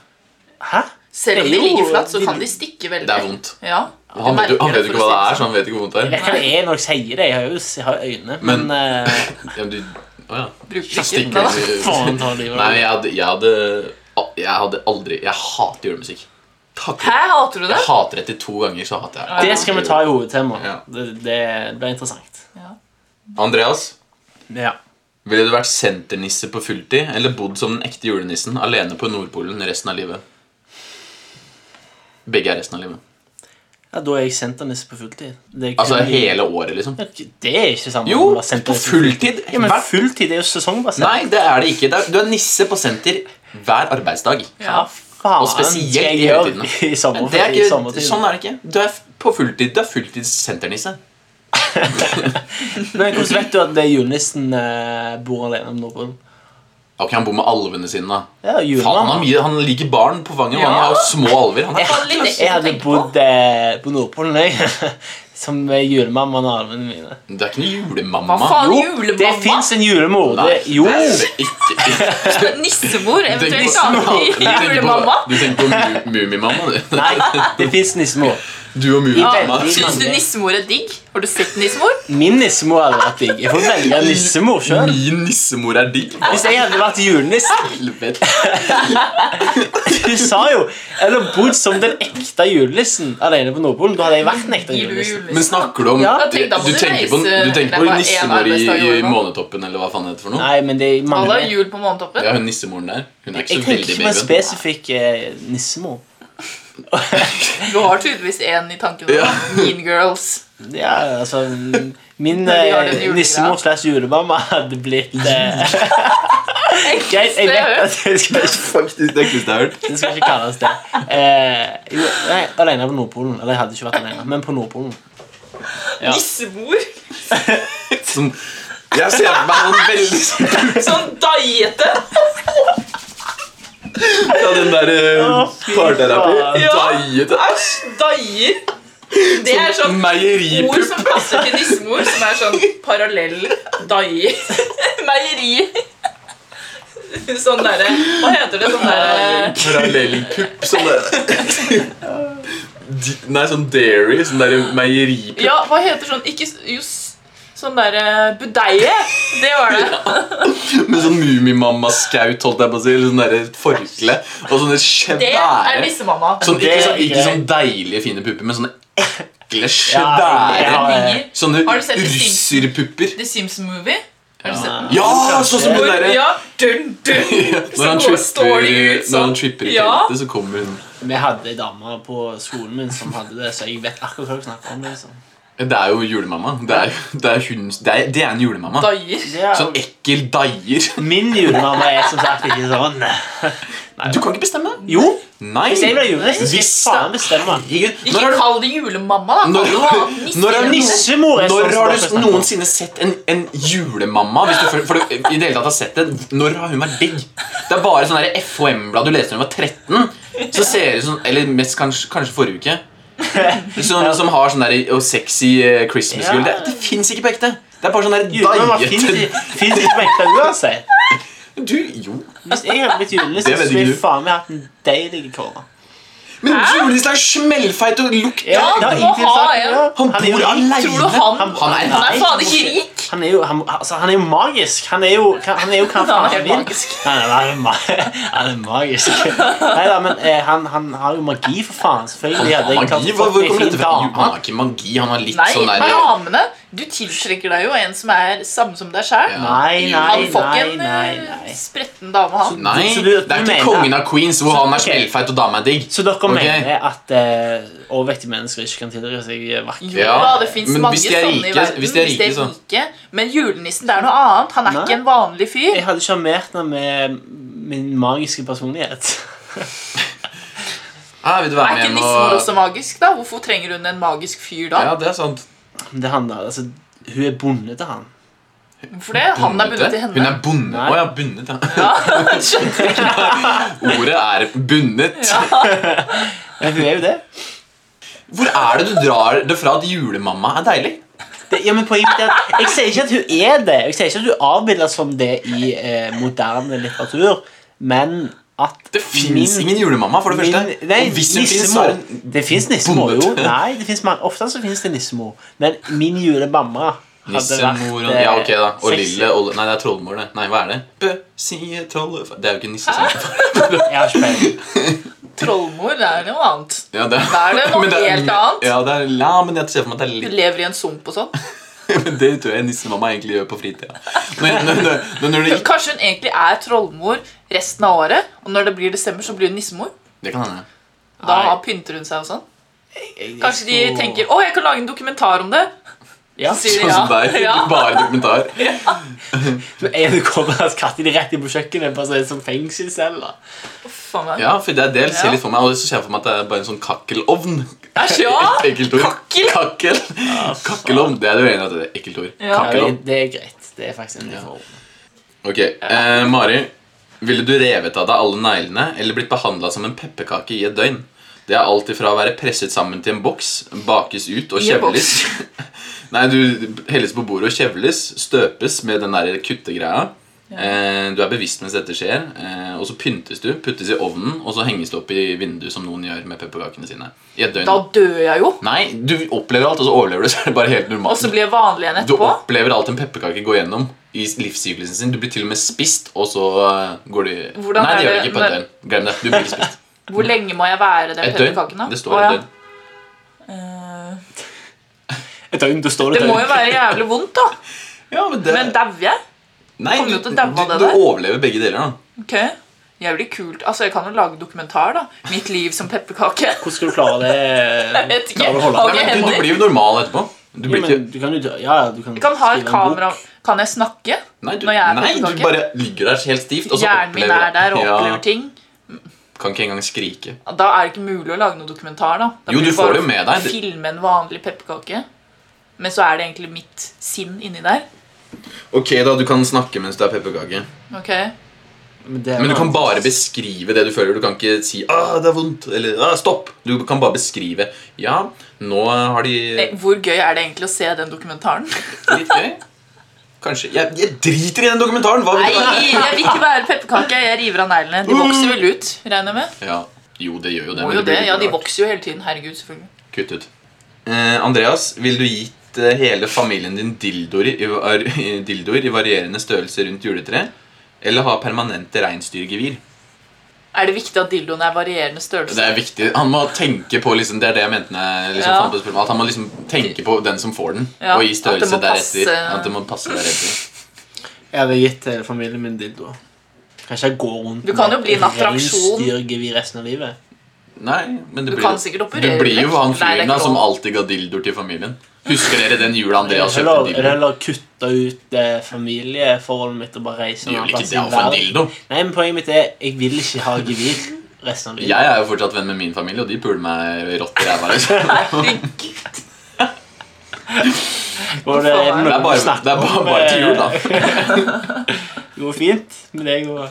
S3: Hæ?
S2: Selv om
S3: Det
S2: de
S3: er jo-
S2: ligger flatt, så kan de stikke veldig.
S1: Det er vondt.
S2: Ja.
S1: Og Han vet, jo, han vet jo ikke hva det er, så han vet ikke hvor vondt
S3: Jeg
S1: det er.
S3: vet hva det er når jeg sier det. Jeg har jo jeg har jo øyne. Men,
S1: Men-
S3: eh,
S1: Ja, men du, å, ja.
S2: Bruker ikke
S1: Stikker
S2: da.
S3: faen ta livet
S1: Nei,
S3: av meg.
S1: jeg hadde, jeg hadde Jeg hadde aldri Jeg hater julemusikk. Takk.
S2: Hæ, hater du det?
S1: Jeg hater etter to ganger, så hater jeg
S3: Det skal vi ta i hovedtemaet.
S1: Ja.
S3: Det, det blir interessant.
S1: Andreas,
S3: Ja.
S1: ville du vært senternisse på fulltid eller bodd som den ekte julenissen alene på Nordpolen resten av livet? Begge er resten av livet.
S3: Ja, Da er jeg senternisse på fulltid. Det er
S1: Altså
S3: kun-
S1: hele året, liksom.
S3: Det er ikke samme
S1: Jo,
S3: som å være
S1: på
S3: senternisse
S1: fulltid.
S3: Ja, men
S1: Hver-
S3: fulltid er jo sesongbasert.
S1: Nei, det er det ikke. Det er, du er nisse på senter hver arbeidsdag.
S3: Hva faen
S1: Og spesielt
S3: skal jeg
S1: i
S3: gjøre
S1: heltidene.
S3: i
S1: Det er
S3: sommerferie? i
S1: ikke,
S3: sommertiden?
S1: sånn er det ikke. Du er f- på fulltid. Du er fulltidssenternisse.
S3: Men hvordan vet du at det er julenissen eh, bor alene om Nordpolen?
S1: Ok, Han bor med alvene sine, da.
S3: Ja,
S1: Faen, han, har
S3: julemann.
S1: mye, han liker barn på fanget, og
S2: Ja.
S1: han har jo små alver. Han er
S2: Faen, litt ekkelt
S3: Jeg
S2: å
S3: hadde
S2: tenke på.
S3: bodd eh, på Nordpolen, jeg. Som er julemammaen og alvene mine.
S1: Det er ikke noe
S2: Hva
S1: julemamma.
S2: faen,
S3: det
S2: julemamma?
S3: fins en julemor.
S1: Nei,
S3: Det, jo!
S1: det er det ikke.
S2: Nissemor?
S1: Du tenker
S2: Eventuelt
S1: på-
S2: annen
S1: du tenker
S2: julemamma?
S1: på- Du tenker på mu- Mummimamma, du.
S3: Nei, det fins nissemor.
S1: Du og Mummimamma.
S3: veldig.
S2: Syns du nissemor er digg? Har du sett nissemor?
S3: Min nissemor hadde vært digg. Jeg får velge nissemor sjøl.
S1: Min nissemor er digg. Hva
S3: Hvis jeg hadde vært julenisse
S1: helvete?
S3: Du sa jo Eller bodd som den ekte julenissen alene på Nordpolen. Da hadde jeg vært den ekte
S2: Gir du
S3: julenissen.
S1: Men
S2: julenissen?
S1: snakker du om
S3: Ja,
S2: jeg tenkte, da må
S1: Du
S2: du
S1: tenker på,
S2: reise-
S1: du tenker
S2: det er
S1: på
S2: bare en
S1: nissemor i,
S2: arbeidsdag i
S1: i
S2: året nå.
S1: Månetoppen, eller hva faen det heter for noe?
S3: Nei, men det
S2: Alle
S3: mangler
S2: har jul på Månetoppen.
S1: Ja, hun nissemoren der. Hun er ikke
S3: Jeg
S1: så
S3: tenker
S1: veldig
S3: ikke på en
S1: baby.
S3: spesifikk eh, nissemor.
S2: Du har tydeligvis én i tankene.
S1: Ja.
S2: Mean Girls.
S3: Ja, altså Min
S2: Når vi har den
S3: eh,
S2: julegreia.
S3: nissemor slash julemamma hadde blitt eh, Jeg, jeg
S2: Det
S3: vet
S2: er jo-
S3: at det skal ikke,
S1: Faktisk det ekleste jeg har hørt.
S3: det skal ikke kalles det. Eh, jo, nei, alene på Nordpolen. Eller jeg hadde ikke vært alene, men på Nordpolen. Ja.
S2: Nissemor?
S1: Som, jeg ser for meg han veldig sånn
S2: Sånn daiete?
S1: fra den der eh,
S3: Å, fy
S1: parterapi.
S3: faen.
S2: Ja.
S1: Daiete.
S2: Æsj, daier. Det er sånn ord
S1: Meieripupp.
S2: som passer til nissemor, som er sånn parallell daier. Meieri. Sånn derre Hva heter det? Sånn derre
S1: Parallellpupp. Sånn der. Di- Nei, sånn dairy. Sånn der meieripupp.
S2: Ja, hva heter sånn Ikke s- jo s- Sånn derre budeie. Det var det.
S1: Med sånn Mummimamma-skaut, holdt jeg på å si. eller Sånn derre forkle. Og sånne
S2: Det er
S1: svære
S2: nissemamma.
S1: sånn, ikke,
S3: Det er
S1: sånn, ikke
S3: gøy.
S1: sånn deilige, fine pupper, men sånne ekle,
S3: Ja,
S1: svære
S3: ja, ja.
S1: Sånne
S2: Har du sett The Sims?
S1: russerpupper.
S2: The Sims Movie. Har du sett den?
S1: Ja, sånn som hun
S2: Hvor,
S1: derre
S2: ja, dun, dun.
S1: Når
S2: Så
S1: han
S2: går- står de
S1: tripper,
S2: ut
S1: når han
S2: sånn.
S1: tripper i
S2: Ja.
S1: teltet, så kommer hun
S3: Vi hadde ei dame på skolen min som hadde det, så jeg vet akkurat hva du snakker om. Liksom.
S1: Det er jo julemamma. Det er, det er, hun, det er, det er en julemamma.
S2: Daier.
S3: Det er-
S1: Sånn ekkel daier.
S3: Min julemamma er som sagt ikke sånn.
S1: Du kan ikke bestemme.
S3: Jo,
S1: Nei.
S3: hvis jeg blir julenisse, skal jeg
S1: Hvis det-
S3: faen bestemme.
S1: Herregud,
S2: Ikke
S1: Når har du
S2: kall det julemamma, da.
S1: Når-
S2: Kall det noe annet.
S1: når er
S2: Nissemor.
S3: Nissemor er
S1: Når
S3: sånn som
S1: har
S3: dere
S1: du
S3: snakker om.
S1: noensinne sett en, en julemamma? Hvis du, for, for du i det hele tatt har sett den, Når har hun vært digg? Det er bare sånn der FHM-blad du leste da du var 13. Så ser det ut som Eller mest kanskje, kanskje forrige uke. Sånne som har sånn der og sexy eh, Christmas gull. Det, det fins ikke på ekte. Det er bare sånn
S3: Julemamma
S1: der
S3: fins
S1: deiete
S3: ikke på ekte uansett.
S1: Du, jo.
S3: Hvis jeg hadde blitt julenisse,
S1: Det vet
S3: så ville
S1: ikke
S3: jeg
S1: du.
S3: faen meg hatt en deilig kåre.
S1: Men julenissen er smellfeit og lukter
S2: Ja,
S3: det har
S2: du må
S3: ingenting
S2: ha
S3: sagt,
S2: en.
S3: ja.
S1: Han
S3: er jo
S1: bor
S3: rik.
S1: alene.
S2: Tror du han
S3: Han-
S1: Han er-
S2: Han er faen ikke
S3: han-
S2: rik.
S3: Han er, jo, han, altså, han er jo magisk. Han er jo, han er jo hva faen
S2: Han er
S3: han
S2: helt
S3: vil.
S2: magisk.
S3: Han er, han er, ma- han er magisk. Neida, men eh, han, han har jo magi, for faen. Selvfølgelig. hadde jeg klart
S1: Magi?
S3: å
S1: Hvor,
S3: fått
S1: hvor
S3: en
S1: kommer
S3: fin
S1: dette fra? Jo,
S3: dame.
S1: han har ikke magi. Han har litt
S2: Nei,
S1: sånn der
S2: ramene. Du tiltrekker deg jo en som er samme som deg sjæl.
S1: Ja.
S3: Nei, nei,
S2: Han får ikke
S3: nei,
S2: en
S3: nei,
S2: eh,
S3: nei.
S2: spretten dame, han.
S1: Nei, det
S3: Så du-
S1: er
S3: du
S1: ikke
S3: mener-
S1: kongen av Queens hvor han er
S3: ok.
S1: smellfeit og dama er digg.
S3: Så dere
S1: Ok.
S3: mener at eh, overvektige mennesker ikke kan tiltrekke seg vakre?
S2: Jo
S1: Ja,
S2: da, det fins
S1: men
S2: mange
S1: hvis de er
S2: sånne i
S1: rike-
S2: verden.
S1: hvis de er rike, så.
S2: rike. Men julenissen det er noe annet. Han er
S3: Nei.
S2: ikke en vanlig fyr.
S3: Jeg hadde sjarmert henne med min magiske personlighet.
S1: Ja, Ah, vil du
S2: Er
S1: være
S2: ikke
S1: med hjem
S2: nissemor også
S1: og
S2: magisk, da? Hvorfor trenger hun en magisk fyr da?
S1: Ja, det er sant.
S3: Men Det handler, altså, hun er bundet til han.
S2: For det, han er bundet til
S1: Hun
S2: henne.
S1: er bundet. Å
S3: Nei.
S1: ja, bundet, ja. Ordet er bundet.
S3: Ja, hun er jo det.
S1: Hvor er det du drar det fra at julemamma er deilig?
S3: det ja, men poenget mitt er at Jeg sier ikke at hun er det. Jeg sier ikke at hun avbildes som det i eh, moderne litteratur, men at
S1: Det fins
S3: min-
S1: ingen julemamma, for det første.
S3: Min, nei,
S1: og hvis hun finnes, så
S3: nissemor.
S1: er hun
S3: Det fins nissemor, jo.
S1: bondet.
S3: Nei, det finnes mange, Ofte så finnes det nissemor. Men min julemamma hadde
S1: Nissemor og
S3: vært eh,
S1: Ja, ok, da. Og
S3: sexy.
S1: lille og Nei, det er trollmor, det. Nei, hva er det? Bø, sie, trolle Det er jo ikke nissesang.
S3: Jeg har ikke peiling.
S2: Trollmor det er noe annet.
S1: Ja, det
S2: Da er det noe
S1: men
S2: helt annet.
S1: Ja, det er, ja, men jeg ser for meg at det er litt
S2: Hun lever i en sump og sånn.
S1: Men det tror jeg nissemamma egentlig gjør på fritida. Men, men, men, men når det ikke
S2: Kanskje hun egentlig er trollmor resten av året, og når det blir desember, så blir hun nissemor.
S1: Det kan hende.
S2: Da
S3: Nei.
S2: pynter hun seg og sånn.
S3: Jeg-
S2: Kanskje de
S3: jeg tror-
S2: tenker 'Å, jeg kan lage en dokumentar om det'.
S3: ja.
S2: Så sier de
S1: Sånn som deg.
S2: ja. ja.
S1: Bare dokumentar.
S3: Er du kommet at katter de rett inn på kjøkkenet på en sånn fengselscelle?
S2: Faen meg.
S1: Ja, for det er det jeg ser litt for meg. Og så ser jeg for meg at det er bare en sånn kakkelovn.
S2: Æsj, ja.
S1: Et ekkelt ord.
S2: Kakkel.
S1: Kakkel. Kakkelovn. Det er du enig i at det er et ekkelt ord.
S2: Ja.
S3: Ja,
S1: Kakkelovn.
S3: det, det er greit. Det er faktisk en uniform.
S1: Ok, eh, Mari. Ville du revet av deg alle neglene eller blitt behandla som en pepperkake i et døgn? Det er alt ifra å være presset sammen til en boks, bakes ut og
S2: I en
S1: kjevles. Nei, du helles på bordet og kjevles, støpes med den der kuttegreia. Eh, du er bevisst mens dette skjer, eh, og så pyntes du, puttes i ovnen, og så henges det opp i vinduet, som noen gjør med pepperkakene sine. I et døgn.
S2: Da dør jeg jo.
S1: Nei, du opplever alt, og så overlever du, så er det bare helt
S2: Og så
S1: normalt.
S2: blir jeg vanlig igjen
S1: Du
S2: etterpå.
S1: opplever alt en pepperkake går gjennom i livssyklusen sin. Du blir til og med spist, og så eh, går du
S2: Hvordan
S1: Nei,
S2: er
S1: det gjør
S2: det
S1: du ikke på et
S2: når-
S1: døgn. Glem det. Du blir ikke spist.
S2: Hvor lenge må jeg være den
S1: Et døgn.
S2: pepperkaken? da?
S1: Det
S2: Å,
S1: står et
S2: ja.
S1: døgn.
S2: Eh,
S3: Et døgn, da står
S2: Det
S3: det
S2: må jo være jævlig vondt, da.
S1: Ja, men det...
S2: Men dauer jeg?
S1: Nei,
S2: Kommer
S1: du,
S2: jo til å daue
S1: du,
S2: av det
S1: du
S2: der.
S1: overlever begge deler, da.
S2: Ok, Jævlig kult. Altså, Jeg kan jo lage dokumentar, da. Mitt liv som pepperkake.
S3: Hvordan skal du klare det?
S2: Jeg vet ikke.
S3: Klarer du å holde
S2: Ok,
S1: Nei, men du,
S2: hemmelig.
S1: du blir jo normal etterpå. Du
S3: Jo,
S1: blir
S3: men
S1: ikke
S3: du kan jo ja, ja, du kan
S2: Jeg kan ha et
S3: skrive en bok.
S2: kamera Kan jeg snakke?
S1: Nei, du,
S2: Når jeg er
S1: nei, du
S2: pepperkake.
S1: bare ligger der helt stivt. Og så
S2: Hjernen min
S1: opplever-
S2: er der og opplever
S1: ja,
S2: ting.
S1: Kan ikke engang skrike.
S2: Da er det ikke mulig å lage noe dokumentar. da, da
S1: Jo, du
S2: blir
S1: får
S2: bare
S1: det jo med deg.
S2: å Filme en vanlig pepperkake. Men så er det egentlig mitt sinn inni der.
S1: Ok, da, du kan snakke mens du er pepperkake.
S2: Ok,
S3: Men, det er
S1: Men du
S3: noe
S1: kan
S3: annet.
S1: bare beskrive det du føler. Du kan ikke si 'ah, det er vondt' eller ah, 'stopp'. Du kan bare beskrive. Ja, nå har de
S2: Eh, Hvor gøy er det egentlig å se den dokumentaren?
S1: litt gøy. Kanskje Jeg, jeg driter i den dokumentaren! Hva
S2: Nei,
S1: vil du ha?
S2: jeg vil ikke være pepperkake. Jeg river av neglene. De vokser vel ut, regner jeg med.
S1: Ja, jo, det gjør jo det.
S2: Må
S1: men
S2: jo
S1: blir
S2: det.
S1: litt
S2: Ja, de
S1: rart.
S2: vokser jo hele tiden. Herregud, selvfølgelig.
S1: Kutt ut. Eh, Andreas, vil du gitt eh, hele familien din dildoer i, i var- i, dildoer i varierende størrelse rundt juletreet? Eller ha permanente reinsdyrgevir?
S2: Er det viktig at dildoen er varierende
S1: Det
S2: størrelse?
S1: er viktig. Han må tenke på liksom, Det er det jeg mente når jeg liksom,
S2: Ja.
S1: fant på spørsmålet. At han må liksom tenke på den som får den,
S2: Ja,
S1: og gi
S2: at det
S1: størrelse
S2: må passe-
S1: deretter. At det må passe deretter.
S3: Jeg hadde gitt til familien min dildoer. Kanskje jeg går rundt
S2: Du kan jo bli en attraksjon.
S3: reinsdyrgevir resten av livet.
S1: Nei, men det
S2: Du
S1: blir,
S2: kan
S1: jo-
S2: sikkert
S1: Du
S2: operere
S1: blir jo
S2: vekk.
S1: han
S2: Nei, det er
S1: fyren da
S2: ikke
S1: som
S2: lov.
S1: alltid ga dildoer til familien. Husker dere den jula Andreas kjøpte
S3: Eller,
S1: dildoer?
S3: eller kutte ut eh, familieforholdet mitt og bare reise
S1: Du
S3: en annen
S1: gjør ikke
S3: plass
S1: det
S3: i
S1: å få en
S3: verden.
S1: dildo.
S3: Nei, men Poenget mitt er jeg vil ikke ha gevir resten av livet.
S1: Jeg er jo fortsatt venn med min familie, og de puler meg rått i ræva. liksom.
S2: Herregud.
S3: Og det, er
S1: Det
S3: noe
S1: er bare,
S3: vi snakker
S1: det er bare,
S3: om,
S1: bare til jul,
S3: eh,
S1: da.
S3: Det går fint med deg og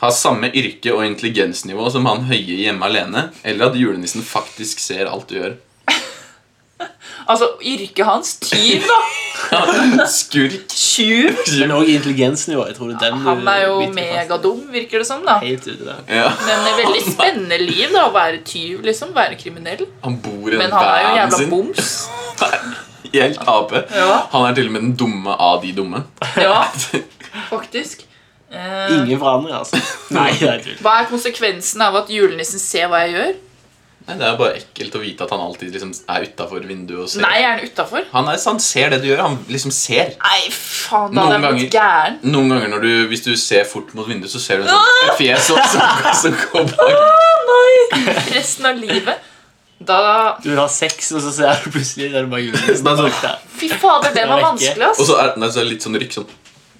S1: Ha samme yrke og intelligensnivå som han høye hjemme alene, eller at julenissen faktisk ser alt du gjør.
S2: Altså, yrket hans. Tyv, da.
S1: Skurk.
S2: Tjuv.
S3: Men òg intelligensnivå. Jeg tror det er den du
S2: Han er jo
S3: biter fast i.
S2: megadum, virker det som. da
S3: Helt ute der.
S1: Ja.
S2: Men det er veldig spennende liv da å være tyv, liksom. Være kriminell.
S1: Han bor i den
S2: Men han er jo
S1: vanen
S2: jævla
S1: sin.
S2: boms.
S1: Helt ape.
S2: Ja.
S1: Han er til og med den dumme av de dumme.
S2: Ja, faktisk. Eh,
S3: Ingen forandring, altså. Nei, det er tull.
S2: Hva er konsekvensen av at julenissen ser hva jeg gjør?
S1: Nei, det er bare ekkelt å vite at han alltid liksom er utafor vinduet og ser.
S2: Nei, er han utafor?
S1: Han, er, han ser det du gjør. Han liksom ser.
S2: Nei, faen, da
S1: Noen
S2: hadde jeg blitt
S1: ganger.
S2: gæren.
S1: Noen ganger når du, hvis du ser fort mot vinduet, så ser du en sånn,
S2: Ah!
S1: et fjes som, som, som går bak.
S2: Nei, resten av livet. Da
S3: Du vil ha sex, og så ser du plutselig der det bare julenissen
S1: Bare sånn.
S3: bak der.
S2: Fy fader, den var
S3: Jeg vet ikke.
S2: vanskelig,
S1: Og
S2: ass.
S1: så er nei, så er det litt sånn rykk sånn.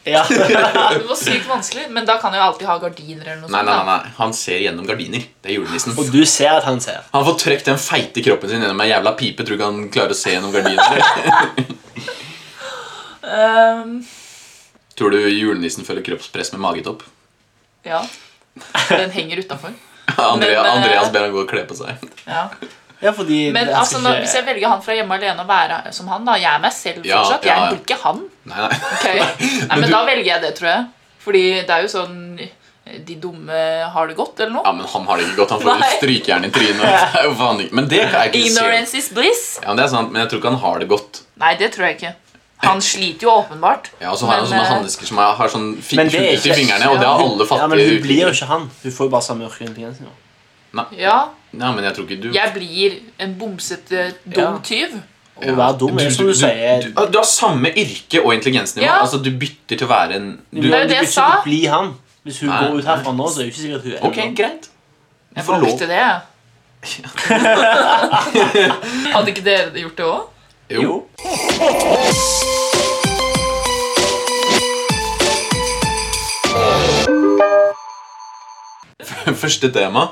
S3: Ja.
S2: Ja, det var sykt vanskelig, Men da kan jeg jo alltid ha gardiner eller noe
S1: Nei,
S2: sånt.
S1: nei, nei,
S2: da.
S1: nei. Han ser gjennom gardiner. Det er julenissen.
S3: Og du ser at han ser.
S1: Han får trøkt den feite kroppen sin gjennom ei jævla pipe. Tror du ikke han klarer å se gjennom gardinene?
S2: Ehm,
S1: Tror du julenissen føler kroppspress med magetopp?
S2: ja. Den henger utafor.
S1: Andrea,
S2: Men, eh,
S1: Andreas ber han gå og kle på seg.
S2: Ja.
S3: Ja, fordi
S2: Men
S3: det
S2: altså,
S3: skal
S2: når,
S3: ikke-
S2: hvis jeg velger han fra hjemme alene og være som han, da Jeg er meg selv
S1: Ja,
S2: fortsatt.
S1: ja, ja.
S2: Jeg blir ikke han.
S1: Nei, nei.
S2: Ok. Nei, men da velger jeg det, tror jeg. Fordi det er jo sånn De dumme har det godt, eller noe.
S1: Ja, men han har det ikke godt. Han får
S2: Nei.
S1: et strykejern i trynet. Det er jo faen ikke. Men det kan jeg ikke se.
S2: Ignorance is bliss.
S1: Ja, men det er sant, men jeg tror ikke han har det godt.
S2: Nei, det tror jeg ikke. Han sliter jo åpenbart.
S1: Ja, og så har han
S2: Men,
S1: sånne
S2: eh,
S1: hansker som er, har sånn fi-
S3: Men det er
S1: hull ut i
S3: ikke-
S1: fingrene, og det har alle
S3: Ja, men
S1: fattige
S3: hun blir jo ikke han. Hun får jo bare samme yrke intelligens nå.
S2: Ja,
S1: Nei, men jeg tror ikke du
S2: jeg blir en bomsete dum
S3: Ja.
S2: tyv.
S3: Å være dum er jo som du sier.
S1: du, du har samme yrke og intelligensnivå.
S2: Ja.
S1: Altså, du bytter til å være en du,
S3: Men
S2: det er jo det
S3: du
S2: jeg
S3: vil
S2: sa.
S3: ikke Bli han. Hvis hun
S1: Nei.
S3: går ut herfra nå, så er det jo ikke sikkert at hun er
S1: Ok,
S3: han.
S1: greit. Du
S2: Jeg
S1: får lov.
S2: valgte det. jeg. Hadde ikke dere gjort det òg?
S1: Jo. Første tema,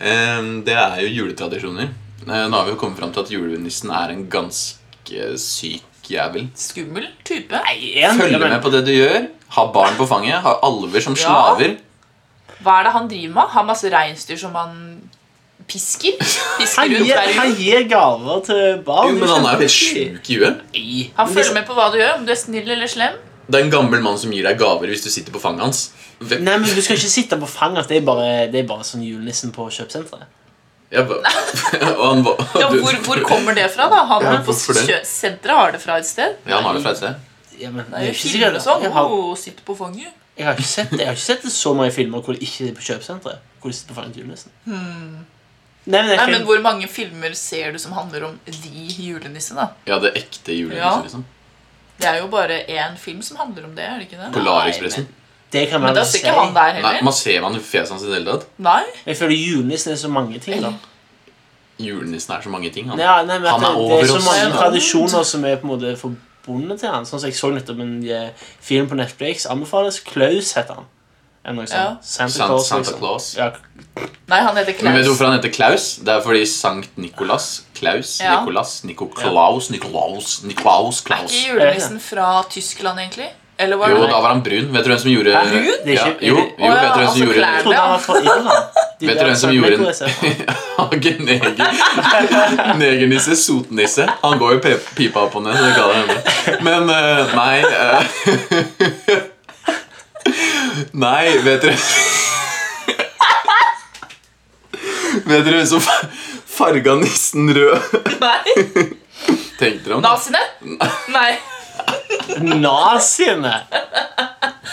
S1: eh, det er jo juletradisjoner. Eh, Nå har vi jo kommet fram til at julenissen er en ganske syk jævel.
S2: Skummel type.
S3: Nei, en,
S1: Følge
S3: ja, men-
S1: med på det du gjør. Ha barn på fanget. Ha alver som slaver.
S2: Hva er det han driver med? Har masse reinsdyr som han pisker? Pisker
S3: Han
S2: rundt
S3: gir,
S2: hver
S3: han
S2: uke?
S3: gir gaver til barn.
S1: Jo, men
S3: det
S1: han er jo helt
S3: kjempeviktig.
S1: sjuk i huet.
S3: Nei,
S2: Han
S3: men
S2: følger
S3: liksom-
S2: med på hva du gjør, om du er snill eller slem.
S1: Det er en gammel mann som gir deg gaver hvis du sitter på fanget hans. Hvem?
S3: Nei, men Du skal ikke sitte på fanget. Det er bare, det er bare sånn julenissen på kjøpesenteret.
S1: Jeg ba- og han ba-
S2: Ja,
S1: du-
S2: hvor, hvor kommer det fra, da? Han
S1: Ja,
S2: på
S1: hvorfor det?
S2: kjø- senteret har det fra et sted.
S1: Ja, han har det fra et sted.
S3: Ja, men,
S2: Det er jo
S3: ikke
S2: filmer og
S3: sikkert-
S2: sånn.
S3: Jeg har,
S2: Åh, sitter på fanget.
S3: jeg, har ikke sett, jeg har ikke sett det så mange filmer hvor det ikke er på kjøpesenteret. Hvor de sitter på fanget til julenissen. Nei, men,
S2: Hmm.
S3: jeg,
S2: Nei, men hvor mange filmer ser du som handler om de julenisse, da?
S1: Ja, det ekte
S2: Ja.
S1: julenissen, liksom.
S2: Det er jo bare én film som handler om det, er det ikke det?
S1: Polarekspressen.
S3: det kan man
S2: Men da
S3: vel
S2: sitter
S3: si.
S2: ikke han der
S1: Nei,
S2: heller.
S1: Man ser man i fjeset hans i det hele tatt.
S2: Nei?
S3: Jeg føler julenissen er så mange ting. da
S1: Julenissen er så mange ting. Han.
S3: Ja, nei, men
S1: Han
S3: at
S1: er
S3: det,
S1: over
S3: det er så
S1: oss.
S3: mange
S2: Ja.
S3: tradisjoner som er på en måte forbundet til han. Sånn som Jeg så nettopp en eh, film på Netflix. Anbefales. Klaus heter han. Eller noe
S2: Ja.
S3: sånt. Santa,
S1: Sant-
S3: Claus,
S1: Santa
S3: liksom.
S1: Claus.
S3: Ja,
S2: Nei, han heter
S1: Men vet du
S2: Klaus.
S1: hvorfor han heter Klaus? Det er fordi Sankt Nikolas, Klaus,
S2: Ja.
S1: Nikolas, Niko Klaus, Nikolaus, Niklaus,
S2: Er
S1: Klaus.
S2: ikke julenissen fra Tyskland, egentlig? Eller var
S1: Jo,
S2: det
S1: da var han brun. Vet du hvem som gjorde
S3: Hæ, brun? Det er
S1: Ja,
S3: ikke-
S1: jo,
S3: er
S1: jo,
S3: det-
S1: vet du hvem
S2: altså
S1: som gjorde
S2: klær.
S3: jeg trodde han var fra Irland. De
S1: Vet
S3: der
S1: du hvem som
S3: San
S1: gjorde
S3: Nicolas er fra.
S1: en neger, negernisse, sotnisse. Han går jo pe- pipa opp og ned, så det kaller jeg henne. Men eh, nei eh, Nei, vet dere Vet dere hvem som farga nissen rød?
S2: Nei?
S1: Tenkte dere om det?
S2: Naziene? Nei.
S3: Naziene!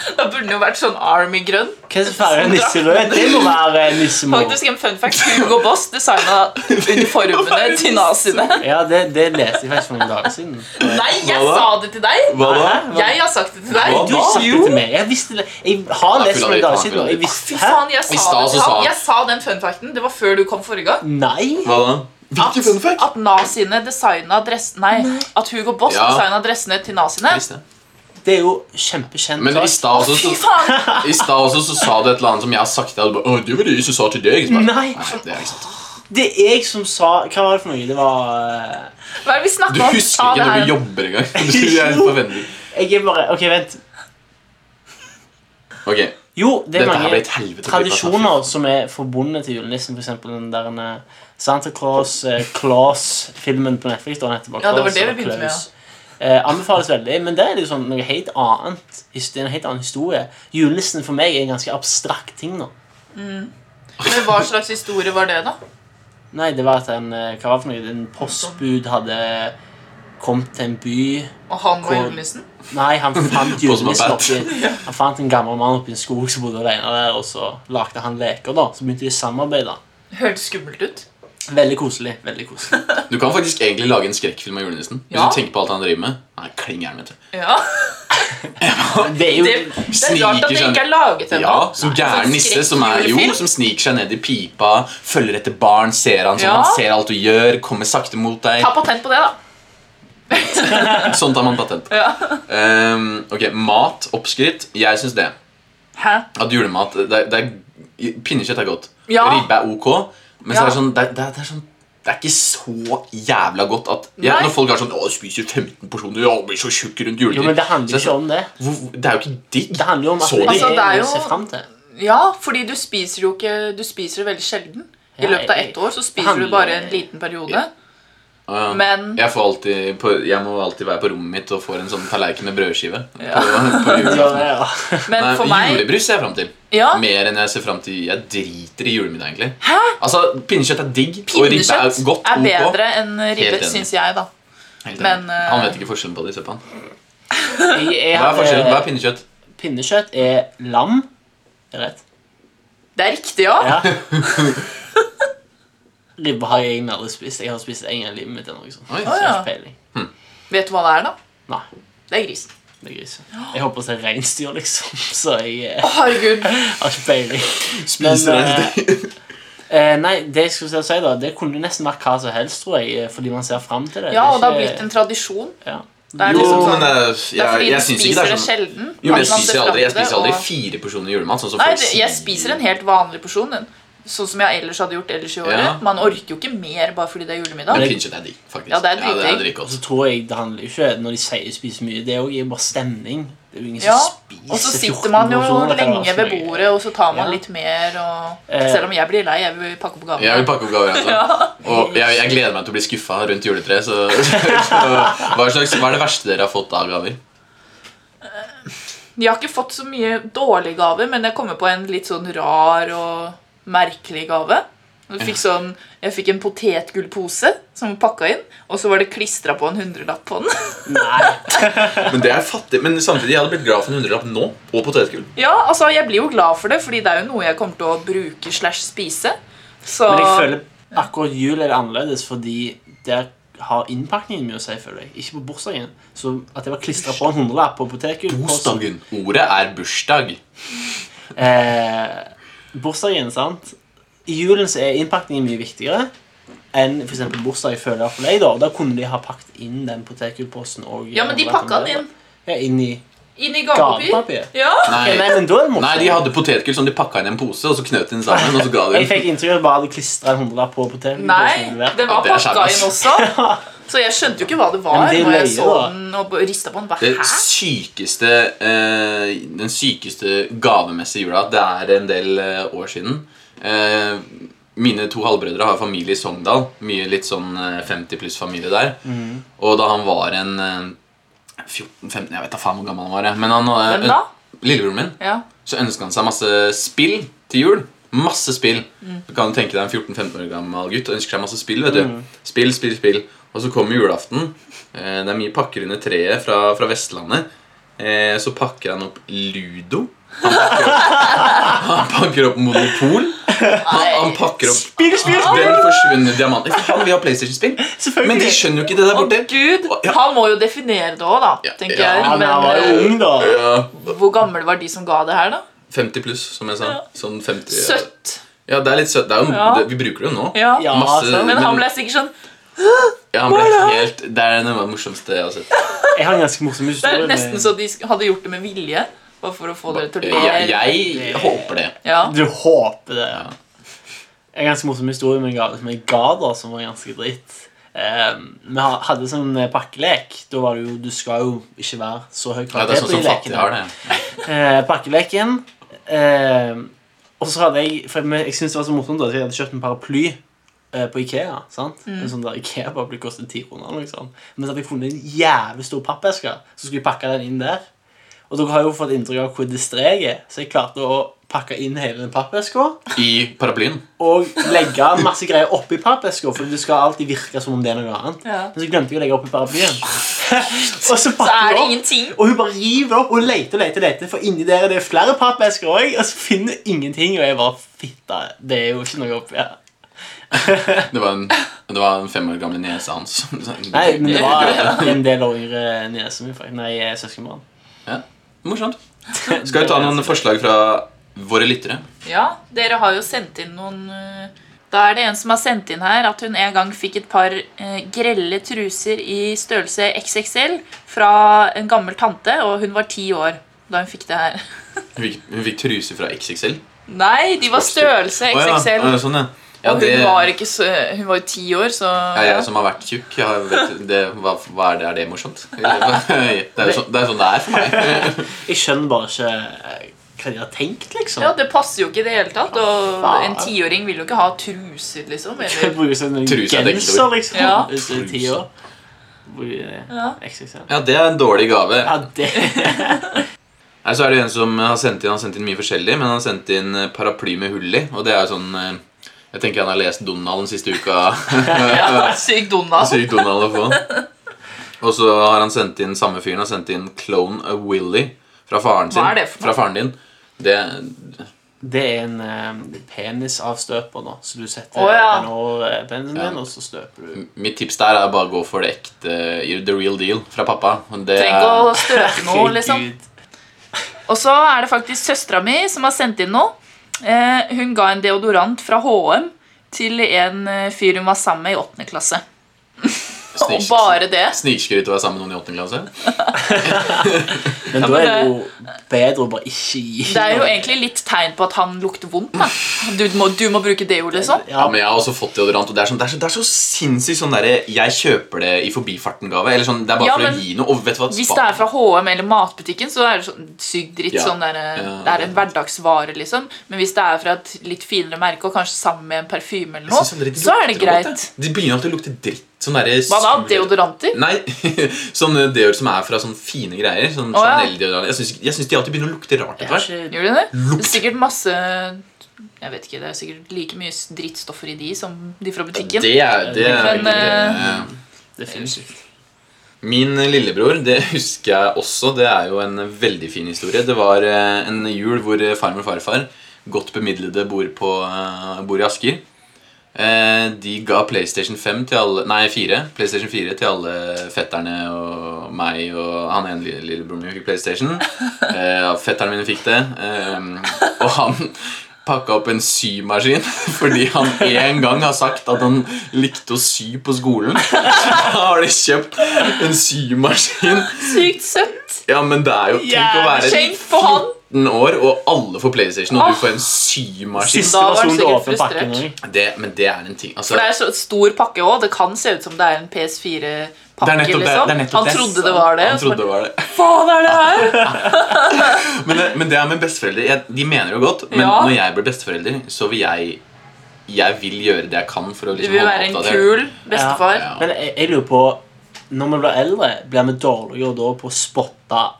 S2: Da burde den jo vært sånn Army-grønn.
S3: Hva er det som farger nisserød? Det må være eh, nissemor.
S2: Faktisk en fun fact. Hugo Boss designa uniformene til naziene.
S3: Ja, det, det leste jeg faktisk for noen dager siden.
S2: Nei, jeg
S1: Hva da?
S2: sa det til deg!
S1: Hva da?
S3: Hæ?
S2: Jeg har sagt det til deg.
S1: Hva
S3: Du sa det
S2: Jo.
S3: til meg. Jeg visste det. Jeg har
S1: Ja,
S3: lest for noen
S1: Philadelphia.
S3: dager siden. og Jeg
S2: Fy
S3: visste, hæ?
S2: faen, jeg sa
S1: I stad
S2: det til
S1: så sa
S2: han.
S1: han-
S2: Jeg sa den fun facten. Det var før du kom forrige gang.
S3: Nei.
S1: Hva da? Hvilken fun fact?
S2: At naziene designa dressene Nei, at Hugo Boss
S1: Ja.
S2: designa dressene til naziene.
S1: Jeg visste det.
S3: Det er jo kjempekjent.
S1: Men i stad også,
S2: Fy
S1: så-
S2: faen!
S1: i stad også så sa du et eller annet som jeg har sagt til deg. og du bare, «Å, Det var det jeg som sa til deg. Så bare,
S3: Nei.
S1: det er ikke sant.
S3: Det er jeg som sa Hva var det for noe? Det var eh,
S2: Hva er det vi
S1: Du
S2: snakker om?
S1: husker
S2: Ta
S1: ikke
S2: det
S1: når
S2: her.
S1: du jobber engang. Du er helt forventet.
S3: eh, Jeg er bare Ok, vent.
S1: Ok,
S3: Jo, det er
S1: Dette her ble
S3: mange
S1: et helvete. å klippe, altså.
S3: tradisjoner som er forbundet til julenissen. For eksempel den der eh, Santa Claus, eh, Claus-filmen på Netflix. Da, den heter bare
S2: Ja, det var
S3: Claus
S2: det vi
S3: eller
S2: begynte med,
S3: Klaus. Eh, anbefales veldig, men det er liksom noe helt annet. His- Det er en helt annen historie. Julenissen for meg er en ganske abstrakt ting nå.
S2: Men hva slags historie var det, da?
S3: Nei, det var at en, eh, hva var det for noe? en postbud hadde kommet til en by
S2: Og han var
S3: Hvor-
S2: julenissen?
S3: Nei, han
S1: På
S3: fant
S1: som en
S3: julenissen
S1: bat.
S3: oppi Han fant en gammel mann oppi en skog som bodde alene der, og så lagde han leker, da. Så begynte de å samarbeide.
S2: Hørtes skummelt ut.
S3: Veldig koselig. veldig koselig
S1: Du kan faktisk egentlig lage en skrekkfilm av julenissen. Hvis
S2: Ja.
S1: du tenker på alt han driver med. Han er kling gæren, vet du.
S2: Ja.
S3: Det er jo
S2: Det, det er rart at
S1: Sniker
S2: det
S1: seg-
S2: ikke er laget ennå.
S1: Ja, som gæren
S2: Sånn
S1: nisse som er jo,
S2: skrekkjulefilm.
S1: som sniker seg ned i pipa, følger etter barn, ser han som
S2: Ja.
S1: han ser alt du gjør, kommer sakte mot deg.
S2: Ta patent på det, da.
S1: Sånn tar man patent. Ehm, ok, Mat oppskrytt. Jeg syns det.
S2: Hæ?
S1: At julemat det, er- det er, Pinnekjøtt er godt.
S2: Ja.
S1: Ribbe er ok. Men så er
S2: Ja.
S1: det sånn det, er- det, er- det er sånn det er ikke så jævla godt at ja,
S2: Nei.
S1: Når folk er sånn Å, jeg spiser 15 porsjoner og blir så tjukk rundt juletid
S3: Jo, men det
S1: Så jeg er
S3: handler jo ikke
S1: sånn,
S3: om det.
S1: hvor- Det er jo ikke digg.
S3: Det handler jo om at
S1: Så
S3: det er
S1: digg.
S2: Altså, det er
S3: noe
S2: jo-
S3: å se frem til.
S2: Ja, fordi du spiser jo ikke Du spiser det veldig sjelden. I
S3: Ja,
S2: løpet av
S3: jeg-
S2: ett år så spiser
S3: han-
S2: du bare en liten periode.
S1: Ja.
S2: Men
S1: Jeg, får alltid på, jeg må alltid være på rommet mitt og får en sånn tallerken med brødskive.
S2: Ja.
S1: På, på
S3: Ja,
S1: julaften.
S3: ja.
S2: Men
S1: Nei,
S2: for meg
S1: Julebrus ser jeg fram til.
S2: ja,
S1: Mer enn jeg ser fram til Jeg driter i julemiddag, egentlig. Altså, Pinnekjøtt er digg, og ribbe
S2: Pinnekjøtt
S1: er godt.
S2: er
S1: ok.
S2: bedre enn ribbe,
S1: Helt enig.
S2: syns jeg, da.
S1: Helt enig.
S2: men, eh,
S1: Han vet ikke forskjellen på det. Se på han.
S3: Jeg,
S1: Hva er
S3: jeg hadde-
S1: forskjellen? Hva er pinnekjøtt?
S3: Pinnekjøtt er lam. Er det rett?
S2: Det er riktig, ja.
S3: Ja. Ribbe har jeg egentlig aldri spist. Jeg har spist en gang i livet mitt. eller noe sånt.
S1: Oi.
S3: Så jeg har
S2: Å, ja.
S3: ikke peiling.
S2: Vet du hva det er, da?
S3: Nei,
S2: Det er gris.
S3: det er gris. Jeg håper det er reinsdyr, liksom. Så jeg eh,
S2: Å, herregud.
S3: har ikke peiling.
S1: Spiser
S3: Men,
S1: han det?
S3: Eh, nei, det jeg skulle til å si da Det kunne nesten vært hva som helst, tror jeg, eh, fordi man ser fram til det.
S2: Ja, og det har
S3: er
S2: blitt
S3: ikke-
S2: en tradisjon.
S3: ja.
S2: Det er
S1: Jo,
S2: liksom sånn
S1: men eh,
S2: Det er
S1: jeg,
S2: fordi
S1: jeg
S2: du
S1: syns ikke det
S2: spiser det
S1: er sånn.
S2: sjelden.
S1: Jo, men
S2: at
S1: jeg
S2: man ser
S1: spiser aldri, jeg
S2: fram til
S1: spiser aldri
S2: det, og-
S1: fire porsjoner julemat. Sånn som
S2: Nei,
S1: folk
S2: det, jeg
S1: sier.
S2: spiser en helt vanlig porsjon. En sånn som jeg ellers hadde gjort ellers i året.
S1: Ja.
S2: Man orker jo ikke mer bare fordi det er
S1: Men
S2: julemiddag.
S1: pinchet er digg, faktisk.
S2: Ja, det er dritdigg.
S3: Og
S1: dritgodt.
S3: så tror jeg det handler jo ikke Når de sier spise mye, det er jo bare stemning. Det er jo ingen
S2: Ja,
S3: som spiser
S2: Og så
S3: 14
S2: sitter man jo
S3: porsjoner, det kan
S2: lenge
S3: være
S2: ved
S3: så mye.
S2: bordet, og så tar man
S3: Ja.
S2: litt mer. Og...
S3: Eh.
S2: Selv om jeg blir lei, jeg vil pakke
S1: Jeg
S2: opp
S1: vil
S2: gavene.
S1: pakke opp gaver. Altså. Og jeg, jeg gleder meg til å bli skuffa rundt juletreet. Så, så hva, slags, hva er det verste dere har fått av gaver?
S2: Jeg har ikke fått så mye dårlige gaver, men jeg kommer på en litt sånn rar og merkelig gave. Jeg fikk, sånn, jeg fikk en potetgullpose som var pakka inn, og så var det klistra på en hundrelapp på den.
S3: Nei,
S1: Men det er fattig, men samtidig jeg hadde blitt glad for en hundrelapp nå, og potetgull.
S2: Ja, altså, jeg blir jo glad for det, fordi det er jo noe jeg kommer til å bruke slash spise. Så
S3: Men jeg føler akkurat jul er det annerledes, fordi der har innpakningen mye å si, føler jeg. Ikke på bursdagen. Så at det var klistra på en hundrelapp på apoteket
S1: Bursdagen. Ordet er bursdag.
S3: Eh, bursdagen, sant? I julen så er innpakningen mye viktigere enn for eksempel bursdag i føler jeg for deg. Da Da kunne de ha pakket inn den potetgullposten og
S2: Ja, men de pakka den inn.
S3: Ja, inn i
S2: Inn i gavepapir.
S3: gavepapir.
S2: Ja.
S1: Nei,
S3: Nei, men da er det morsomt.
S1: nei de hadde potetgull som de pakka inn i en pose, og så knøt de den sammen. og så ga de den.
S3: Jeg fikk inntrykk av at de bare hadde klistra en hundrelapp på potetgullposten.
S2: Nei,
S3: levert.
S2: den var
S1: det er
S2: pakka
S1: skjermes.
S2: inn også. Så jeg skjønte jo ikke hva det var.
S3: Men det
S2: når jeg
S3: løyer,
S2: så
S3: da.
S2: den og rista på den. Bare,
S1: Det
S2: Hæ?
S1: sykeste, eh, den sykeste gavemessige jula Det er en del eh, år siden. Eh, mine to halvbrødre har familie i Sogndal. Mye litt sånn eh, 50 pluss-familie der.
S2: Mhm.
S1: Og da han var en eh, 14-15 Jeg vet da faen hvor gammel han var. jeg. Men han, eh,
S2: Hvem da?
S1: Lillebroren min.
S2: Ja.
S1: Så ønska han seg masse spill til jul. Masse spill. Du kan tenke deg en 14-15 år gammel gutt ønsker seg masse spill. vet du
S2: Mm.
S1: Spill, spill, spill. Og så kommer julaften. Eh, Det er mye pakker under treet fra, fra Vestlandet. Eh, Så pakker han opp Ludo. Han pakker opp, han pakker opp Monopol. Han, han pakker opp
S3: Spill, spill, spill!
S1: Den forsvunne diamanten. Han vil ha PlayStation-spill.
S3: Selvfølgelig.
S1: Men de skjønner jo ikke det der
S2: Å,
S1: borte.
S2: Gud!
S1: Ja.
S2: Han må jo definere det òg, da.
S1: Ja,
S2: tenker
S1: ja.
S2: jeg.
S3: Ja, men han var jo
S2: Men
S3: ung, da.
S1: Ja,
S2: eh, hvor gamle var de som ga det her, da?
S1: 50 pluss, som jeg sa. Sånn 50
S2: Søtt.
S1: Ja, det er litt søtt. Det er jo,
S2: Ja.
S1: det, vi bruker det jo nå.
S2: Ja.
S3: Ja,
S1: Masse-
S3: sant.
S2: Men han ble sikkert sånn
S1: Ja, han ble helt, Det er det morsomste jeg har sett.
S3: Jeg har en ganske morsom
S2: Det
S3: historie.
S2: er
S3: med-
S2: nesten så de sk- hadde gjort det med vilje. Bare for å få dere til å
S1: Jeg,
S2: le.
S1: jeg håper det.
S2: Ja.
S3: Du håper det. ja. En ganske morsom historie med en ga- med en gader som var ganske dritt. Eh, vi ha- hadde sånn eh, pakkelek. Da var det jo Du skal jo ikke være så høy
S1: Ja, det er
S3: kvalitet
S1: sånn
S3: på de
S1: som fattige
S3: lekene.
S1: har det.
S3: Eh, pakkeleken. Eh, og så hadde jeg For jeg, jeg syntes det var så morsomt at jeg hadde kjøpt en paraply. eh, På Ikea. sant?
S2: Mm.
S3: En sånn der Ikea-paraply koster 10 kroner. eller noe sånt. Men så hadde jeg funnet en jævlig stor pappeske, så skulle jeg pakke den inn der. Og dere har jo fått inntrykk av hvor distré jeg er, så jeg klarte å pakke inn hele den pappeska
S1: I paraplyen.
S3: og legge masse greier oppi pappeska, for det skal alltid virke som om det er noe annet.
S2: Ja.
S3: Men så glemte jeg å legge oppi paraplyen. og så
S2: Så er
S3: pakker
S2: det
S3: jeg opp,
S2: ingenting.
S3: og hun bare river opp og leter og leter, leter for inni der er det flere pappesker òg, og så finner hun ingenting, og jeg bare Fitte, det er jo ikke noe oppi her.
S1: Det var en, det var en fem år gamle niese hans.
S3: Nei, men det var en del år yngre niese mi, faktisk. Nei, søskenbarn.
S1: Ja, Morsomt. Skal vi ta noen forslag fra våre lyttere?
S2: Ja, dere har jo sendt inn noen eh, Da er det en som har sendt inn her at hun en gang fikk et par eh, grelle truser i størrelse XXL fra en gammel tante, og hun var ti år da hun fikk det her.
S1: Hun fikk, hun fikk truse fra XXL.
S2: Nei, de var størrelse
S1: Å ja,
S2: XXL.
S1: ja, sånn, ja. Ja,
S2: Og
S1: det
S2: hun var
S1: er
S2: ikke så Hun var jo ti år, så
S1: jeg som har vært tjukk. Jeg har- vet, det, hva, hva er det? Er det morsomt? Det er jo sånn det er, sånn det er for meg.
S3: Jeg skjønner bare ikke eh, hva de har tenkt, liksom.
S2: Ja, det passer jo ikke i det hele tatt. Og
S1: Ah,
S3: faen.
S2: en tiåring vil jo ikke ha truser, liksom.
S3: Jeg
S2: Eller
S3: bruker sånn en
S1: Truse er dekket
S3: genser,
S1: over.
S3: liksom.
S2: Ja.
S3: Hvis du er ti
S1: Truse.
S3: år. Bruker
S2: Ja.
S3: eh, XXL.
S1: Ja, det er en dårlig gave.
S3: Ja, det
S1: Nei, så er det en som har sendt inn, han har sendt inn mye forskjellig, men han har sendt inn eh, paraply med hull i. Og det er jo sånn eh, Jeg tenker han har lest Donald den siste uka.
S2: ja, syk Donald.
S1: Sykt Donald å få. Og så har han sendt inn samme fyren har sendt inn Clone of Willy fra faren sin.
S2: Hva er det for noe?
S1: Fra faren din. Det,
S3: Det er en eh, penisavstøper, da. Så du setter
S2: Å, ja.
S3: den over eh, penisen
S1: Ja.
S3: din, og så støper du.
S1: mitt tips der er bare å gå for det ekte, the real deal, fra pappa. Og Det
S2: Trenger ikke å støte noe, liksom.
S3: Herregud.
S2: Og så er det faktisk søstera mi som har sendt inn noe. Eh, hun ga en deodorant fra HM til en eh, fyr hun var sammen med i åttende klasse.
S1: er
S2: Og bare det.
S1: Snikskryt å være sammen med noen i åttende klasse.
S3: Men da
S2: men
S3: er det jo bedre å bare ikke gi
S2: Det er jo egentlig litt tegn på at han lukter vondt. Da. Du, må, du må bruke det ordet sånn.
S1: Ja,
S3: Ja,
S1: men jeg har også fått deodorant, og det er, sånn, det er, så, det er så sinnssykt sånn derre Jeg kjøper det i forbifarten-gave. Eller sånn, det er bare
S2: Ja,
S1: for
S2: men
S1: å gi noe. Og vet du hva?
S2: Hvis
S1: Spa-
S2: det er fra HM eller matbutikken, så er det sånn sykt dritt.
S1: Ja.
S2: Sånn der, eh,
S1: Ja.
S2: det er en hverdagsvare, liksom. Men hvis det er fra et litt finere merke, og kanskje sammen med en parfyme, eller
S1: Jeg
S2: noe,
S1: synes sånn dritt
S2: så er det
S1: lukter godt,
S2: greit.
S1: jeg. Det begynner alltid å lukte dritt. Sånn derre
S2: Hva da?
S1: sur-
S2: Deodoranter?
S1: Nei, sånne deoer som er fra sånne fine greier. Sånn
S2: Å, ja.
S1: Chanel-deodorant. Jeg syns- Jeg syns de alltid begynner å lukte rart etter hvert.
S2: Gjør de det? Det
S1: Lukt.
S2: er sikkert masse Jeg vet ikke, det er sikkert like mye drittstoffer i de som de fra butikken.
S1: Det er, det er
S2: Men, eh,
S3: det finnes ikke.
S1: Min lillebror, det husker jeg også. Det er jo en veldig fin historie. Det var eh, en jul hvor eh, farmor og farfar, godt bemidlede, bor, på, eh, bor i Asker. Eh, De ga PlayStation 5 til alle, nei, 4, PlayStation 4 til alle fetterne og meg og han ene lille- lillebroren min fikk PlayStation. Eh, ja, Fetterne mine fikk det. eh, Og han pakka opp en symaskin fordi han en gang har sagt at han likte å sy på skolen. Da har de kjøpt en symaskin.
S2: Sykt søtt!
S1: Ja, men det er jo Tenk å
S2: Jævlig
S1: være
S2: kjent for han!
S1: 19 år, og alle får PlayStation, og du får en symaskin.
S3: Siste
S2: Da var han
S3: versjon til
S2: sikkert
S3: åpen pakke.
S2: frustrert.
S3: Norge.
S1: Det, men det er en ting. Altså,
S2: For det er så stor pakke òg. Det kan se ut som det er en PS4-pakke.
S1: Det er nettopp det,
S2: liksom.
S1: det er nettopp
S2: Han
S1: det.
S2: trodde det var det.
S1: han trodde det var det.
S2: Faen, er det her?
S1: Men det, men det er med besteforeldre. Jeg, de mener jo godt, men
S2: Ja.
S1: når jeg blir besteforelder, så vil jeg Jeg vil gjøre det jeg kan for å
S2: Du
S1: liksom
S2: vil
S1: holde
S2: være en
S1: oppdatert.
S2: kul bestefar.
S1: Ja.
S3: Men jeg, jeg lurer på Når vi blir eldre, blir vi dårligere da på å spotte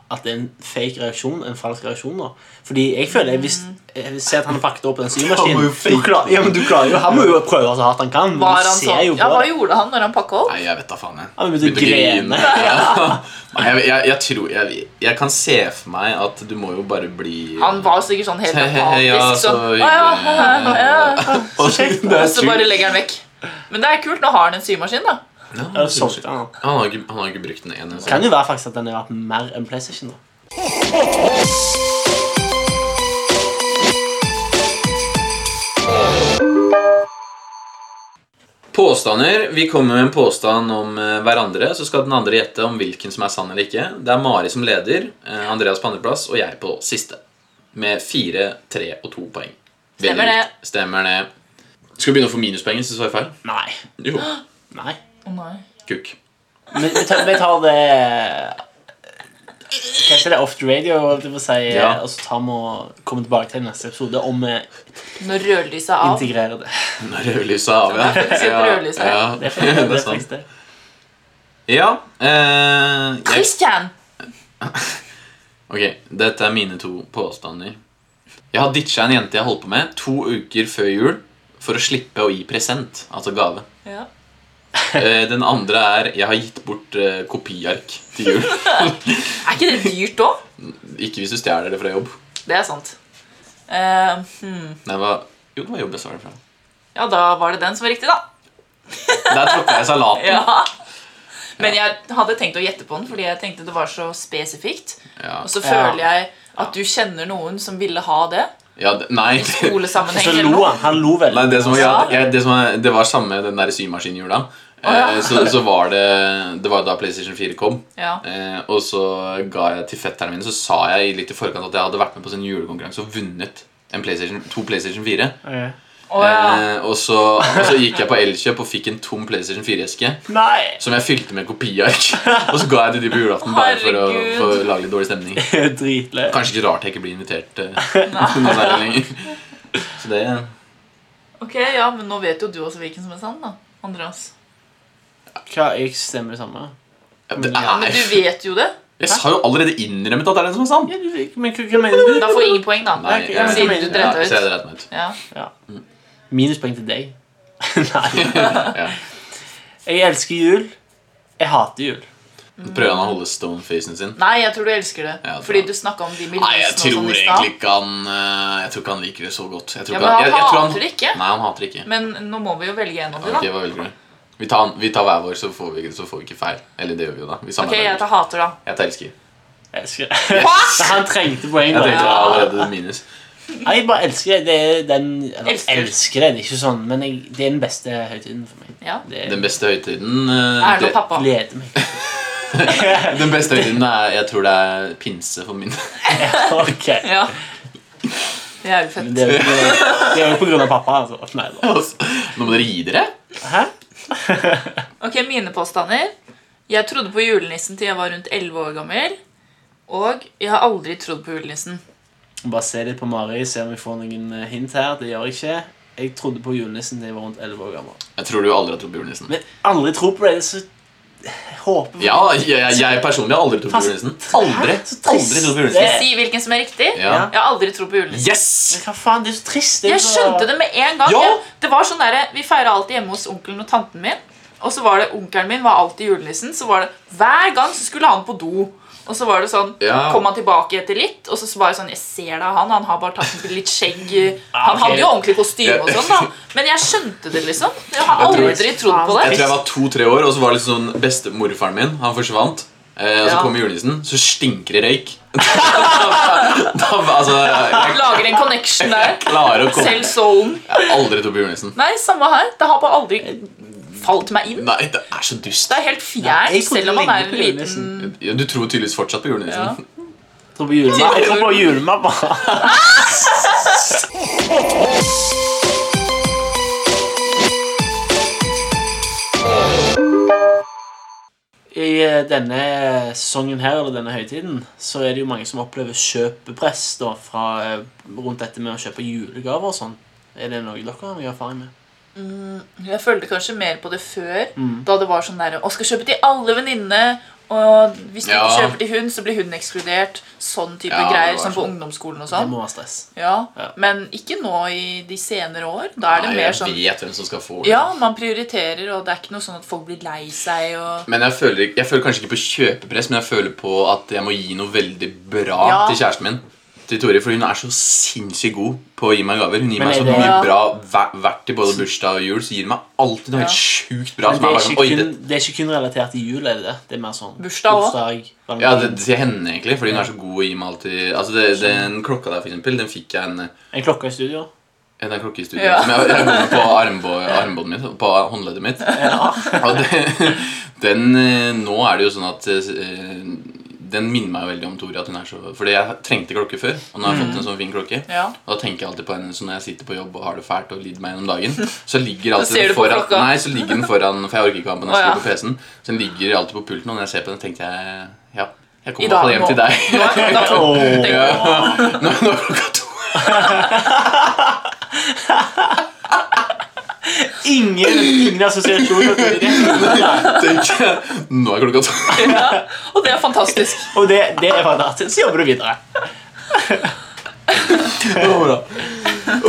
S3: at det er en fake reaksjon? En falsk reaksjon da Fordi jeg føler jeg,
S2: Mm.
S3: hvis jeg ser at han har pakket opp en
S1: Han må
S3: symaskinen
S1: jo fake
S3: du klarer- ja, men du klarer jo, Han må jo prøve så hardt han kan. Men
S2: Var
S3: du
S2: han
S3: ser
S2: sånn?
S3: jo
S2: Ja,
S3: på
S2: hva
S3: det.
S2: gjorde han når han pakka opp?
S1: Nei, jeg vet da faen. jeg.
S3: Han begynte å grene.
S1: Nei, jeg, jeg, jeg tror jeg, jeg kan se for meg at du må jo bare bli
S2: Han var sikkert sånn helt
S1: Hei, hei, hei, ja,
S2: apatisk.
S1: så
S2: Sånn, «Å
S1: hyggelig.
S2: ja, hei, hei, hei, hei».
S1: Og det er
S2: Og så
S1: sjukt.
S2: bare legger han vekk. Men det er kult. Nå har han en symaskin, da.
S1: Ja,
S3: Ja, det solgte han.
S1: Han har ikke, han har ikke brukt den ene. så-
S3: Kan jo være faktisk at den har vært mer enn PlayStation. da
S1: Påstander. Vi kommer med en påstand om eh, hverandre, så skal den andre gjette om hvilken som er sann eller ikke. Det er Mari som leder, eh, Andreas på andreplass og jeg på siste. Med fire, tre og to poeng. Veldig
S2: Stemmer det.
S1: likt. Stemmer det. Skal vi begynne å få minuspoeng hvis du svarer feil?
S3: Nei.
S1: Jo.
S3: Nei.
S2: Å nei.
S1: Kukk.
S3: Men vi tar, vi tar det Hva heter det? Off the radio, holdt jeg på å si.
S1: Ja.
S3: Og så tar vi og kommer tilbake til neste episode om vi
S2: Når rødlyset er av.
S3: integrerer det.
S1: Når rødlyset er av, ja.
S2: faktisk et rødlys her.
S1: ja.
S3: Det er faktisk
S1: det er
S3: det.
S1: sant.
S3: faktisk det.
S1: Ja. eh, jeg
S2: Christian!
S1: Ok, dette er mine to påstander. Jeg har ditcha en jente jeg holdt på med to uker før jul for å slippe å gi present, altså gave.
S2: Ja.
S1: Eh, Den andre er jeg har gitt bort eh, kopiark til jul.
S2: Er ikke det dyrt òg?
S1: Ikke hvis du stjeler det fra jobb.
S2: Det er sant. Eh, hmm.
S1: Nei, hva? Jo, det var jobb jeg sa det fra.
S2: Ja, da var det den som var riktig, da.
S1: Der tråkka jeg salaten.
S2: Ja. Men jeg hadde tenkt å gjette på den, fordi jeg tenkte det var så spesifikt.
S1: Ja.
S2: Og så
S3: Ja.
S2: føler jeg at du kjenner noen som ville ha det.
S1: Ja, det- nei.
S3: Og
S2: Skolesammenheng.
S3: så
S2: eller
S3: lo
S2: noe.
S3: han. Han lo veldig.
S1: nei det, som var,
S2: Ja.
S1: jeg, jeg- det, som var, det var samme den der symaskinhjula.
S2: Å,
S1: Eh, Så, så var det Det var da PlayStation 4 kom.
S2: Ja.
S1: Eh, og så ga jeg til fetterne mine Så sa jeg litt i forkant at jeg hadde vært med på sin julekonkurranse og vunnet en PlayStation, to PlayStation 4.
S3: Ok.
S2: Å, ja.
S1: Eh, og, så, og så gikk jeg på Elkjøp og fikk en tom PlayStation 4-eske
S3: Nei!
S1: som jeg fylte med kopiark. Og så ga jeg til de på julaften bare for å,
S2: Herregud.
S1: for å lage litt dårlig stemning.
S3: Dritløy.
S1: Kanskje ikke rart jeg ikke blir invitert eh, noe særlig lenger. Så det
S2: Ok, ja, men nå vet jo du også hvilken som er sann, da. Andreas.
S3: Hva, jeg stemmer det samme?
S1: det
S2: Men
S1: er,
S2: du vet jo det.
S1: Jeg har jo allerede innrømmet at det er den som er sann.
S3: Ja, du, men hva, hva mener du?
S2: Da får ingen poeng, da.
S1: Nei, jeg-
S3: Ja,
S1: ja, så
S3: så du
S1: jeg
S3: dreit deg
S2: ut.
S1: dreit meg ut.
S2: Ja.
S3: Ja. Minuspoeng til deg. Nei.
S1: Ja.
S3: Jeg elsker jul. Jeg hater jul.
S1: Prøver han å holde stone-facen sin?
S2: Nei, jeg tror du elsker det.
S1: Ja, det
S2: fordi
S1: var-
S2: du snakka om de
S1: Nei, jeg
S2: miljøsene
S1: tror
S2: og sånn i
S1: egentlig
S2: stad.
S1: ikke han eh, Jeg tror ikke han liker det så godt. Jeg tror
S2: Ja,
S1: ikke
S2: men han
S1: jeg- jeg tror
S2: hater det ikke.
S1: Nei, han hater det ikke.
S2: Men nå må vi jo velge en av de,
S1: Ok,
S2: da.
S1: hva velger du? Vi tar, han- vi tar hver vår, så får vi, så får vi ikke feil. Eller det gjør vi jo, da. Vi
S2: Ok,
S1: samarbeider.
S2: jeg tar hater, da.
S1: Jeg tar elsker.
S3: Jeg elsker Men Han trengte poeng.
S1: Jeg tenkte
S3: da.
S1: jeg allerede minus.
S3: Nei, jeg bare elsker det. det er den, eller,
S2: Elsker.
S3: elsker. det, det er ikke sånn, men jeg, det er den beste høytiden for meg.
S2: Ja.
S3: Det
S1: Den beste høytiden eh,
S2: Erna og
S1: det,
S2: pappa.
S3: gleder meg.
S1: Den beste høytiden er Jeg tror det er pinse for min
S3: ok.
S2: Ja. Det er jo fett.
S3: Men det er jo ikke, det er jo på grunn av pappa, altså. Nei, da.
S1: Nå må dere gi dere.
S3: Hæ?
S2: Ok, mine påstander. Jeg trodde på julenissen til jeg var rundt 11 år gammel. Og jeg har aldri trodd på julenissen.
S3: Bare se litt på Mari, se om vi får noen eh, hint her. Det gjør jeg ikke. Jeg trodde på julenissen da jeg var rundt 11 år gammel.
S1: Jeg tror du aldri har trodd på julenissen.
S3: Men aldri tro på det. det er Så håper
S1: Ja, jeg, jeg personlig har aldri trodd på julenissen. Aldri
S3: Hæ? Så trist.
S1: aldri trodd på julenissen.
S2: Si hvilken som er riktig.
S1: Ja.
S2: Jeg har aldri trodd på julenissen.
S1: Yes!
S3: Men Hva faen, det er så trist. Det er
S2: Jeg
S3: så-
S2: skjønte det med en gang.
S1: Ja.
S2: Jeg- Det var sånn der, Vi feira alltid hjemme hos onkelen og tanten min. Og så var det onkelen min var alltid julenissen. Så var det Hver gang så skulle han på do. Og så var det sånn,
S1: Ja.
S2: kom han tilbake etter litt, og så bare sånn Jeg ser deg, han. Han har bare tatt litt skjegg.
S3: Ah,
S2: Han
S3: ok.
S2: hadde jo ordentlig kostyme og
S1: Ja.
S2: sånn, da. Men jeg skjønte det, liksom. Jeg har
S1: Jeg tror-
S2: aldri trodd på
S1: Jeg
S2: det.
S1: tror jeg var to-tre år, og så var det liksom sånn bestemorfaren min Han forsvant. Eh, og så
S2: Ja.
S1: kommer julenissen, så stinker det røyk. da, da, altså, jeg
S2: Lager en connection der.
S1: klarer å komme
S2: Selv så ung.
S1: Jeg har aldri trodd på julenissen.
S2: Nei, samme her. Det har bare aldri falt meg inn.
S1: Nei, det er så dust.
S2: Det er helt
S3: Ja, jeg
S2: fjernt,
S3: trodde
S2: selv om man
S3: lenge
S2: er en
S3: på
S2: liten
S3: julenissen.
S1: Ja, Du tror tydeligvis fortsatt på julenissen.
S3: Jeg tror på julemamma. Jeg tror på julemamma. I eh, denne sesongen her, eller denne høytiden, så er det jo mange som opplever kjøpepress da, fra, eh, rundt dette med å kjøpe julegaver og sånn. Er det noe dere har mye erfaring med?
S2: Jeg følte kanskje mer på det før,
S1: Mm.
S2: da det var sånn derre Å, skal kjøpe til alle venninnene. Og hvis du ikke
S1: Ja.
S2: kjøper til hun, så blir hun ekskludert. Sånn type
S1: Ja, det
S2: greier.
S1: var
S2: Som på
S1: sånn.
S2: ungdomsskolen og
S3: Det
S2: sånn.
S3: må være stress.
S2: Ja.
S3: Ja.
S2: Men ikke nå i de senere år. Da er det
S1: Nei,
S2: mer
S1: jeg
S2: sånn
S1: vet hvem som skal få det.
S2: Ja, man prioriterer, og det er ikke noe sånn at folk blir lei seg og
S1: Men jeg føler, ikke- jeg føler kanskje ikke på kjøpepress, men jeg føler på at jeg må gi noe veldig bra
S2: Ja.
S1: til kjæresten min. Til Tori, for Hun er så sinnssykt god på å gi meg gaver. Hun gir
S3: Men
S1: meg
S3: er
S1: så
S3: det-
S1: mye
S2: Ja.
S1: bra hver, hvert i både bursdag og jul. Så gir hun meg alltid noe helt
S2: Ja.
S1: sjukt bra.
S3: Men
S1: Som
S3: det
S1: er
S3: er,
S1: bare sånn,
S3: ikke
S1: Oi,
S3: kun,
S1: det,
S3: det er ikke kun relatert til jul, er det det? Det er mer sånn
S2: Bursdag også?
S3: bursdag,
S1: ja, det, det til henne, egentlig. Fordi hun er så god å gi meg alltid Altså, det, Den klokka der, for eksempel, den fikk jeg en
S3: En klokke i studio.
S1: Det er klokke i studio.
S2: Ja.
S1: Som jeg, jeg går med på armbå, armbåndet mitt, på håndleddet mitt. Og det, den, eh, nå er det jo sånn at eh, den minner meg veldig om Tori. at hun er så... Fordi jeg trengte klokke før, og nå har jeg fått en sånn fin klokke.
S2: Mm. Ja.
S1: Og da tenker jeg alltid på henne, så Når jeg sitter på jobb og har det fælt og lider meg gjennom dagen, så ligger
S2: Da
S1: alltid
S2: ser du
S1: den
S2: på
S1: foran
S2: klokka.
S1: Nei, så ligger den foran For jeg orker ikke å ha den når jeg
S2: Å, ja.
S1: skriver på PC-en. Så den ligger alltid på pulten, og når jeg ser på den, tenker jeg Ja, jeg
S2: I
S1: kommer i hvert fall
S2: dag,
S1: hjem til deg. Ja.
S2: Nå er klokka to.
S3: Åh.
S1: Nå, nå er klokka to.
S3: Ingen, ingen assosiasjoner til det.
S1: Tenker jeg, nå er klokka to.
S2: Ja. Og det er fantastisk.
S3: Og det, det er fantastisk. Så jobber du videre.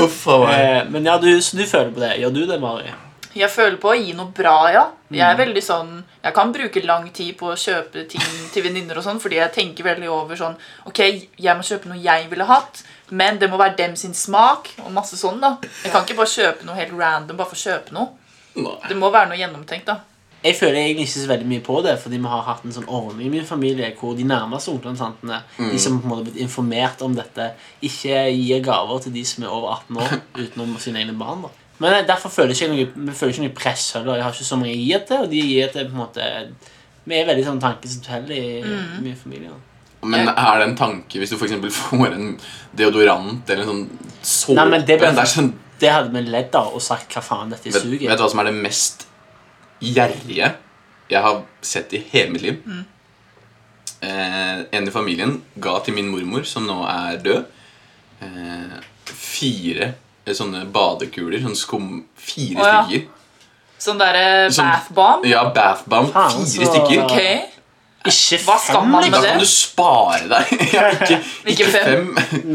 S1: Uff a meg.
S3: Eh, Men ja, du, så du føler på det. Gjør du det, Mari?
S2: Jeg føler på å gi noe bra, ja. Jeg
S3: Mm.
S2: er veldig sånn Jeg kan bruke lang tid på å kjøpe ting til venninner og sånn, fordi jeg tenker veldig over sånn Ok, jeg må kjøpe noe jeg ville hatt, men det må være dem sin smak, og masse sånn, da. Jeg kan ikke bare kjøpe noe helt random bare for å kjøpe noe.
S3: Eh,
S2: Det må være noe gjennomtenkt, da.
S3: Jeg føler egentlig ikke så veldig mye på det, fordi vi har hatt en sånn ordning i min familie hvor de nærmeste onklene og tantene, de som på en måte har blitt informert om dette, ikke gir gaver til de som er over 18 år, utenom sine egne barn. da. Men eh, derfor føler jeg ikke noe, vi føler ikke noe press heller. Jeg har ikke så mange jeg gir til, og de jeg gir til på en måte Vi er veldig sånn tanke som teller i i min familie. da.
S1: Men
S3: eh,
S1: er det en tanke hvis du for eksempel får en deodorant eller en sånn såpe?
S3: Nei, men det bør-
S1: er sånn,
S3: Det hadde vi ledd av og sagt hva faen dette
S1: vet,
S3: suger.
S1: vet du hva som er det mest gjerrige jeg har sett i hele mitt liv?
S3: Mm.
S1: Eh, en i familien ga til min mormor, som nå er død, eh, fire eh, sånne badekuler. Sånn skum... Fire
S2: Å, ja.
S1: stykker.
S2: Sånn derre
S1: Sånn-
S2: bath bomb.
S1: Ja, bath bomb.
S3: Faen,
S1: Fire
S3: så-
S1: stykker.
S2: Ok.
S3: Ikke liksom.
S2: Hva skal man
S1: Da
S2: med
S1: kan du
S2: det?
S1: spare deg. ikke,
S2: Ikke
S1: ikke fem.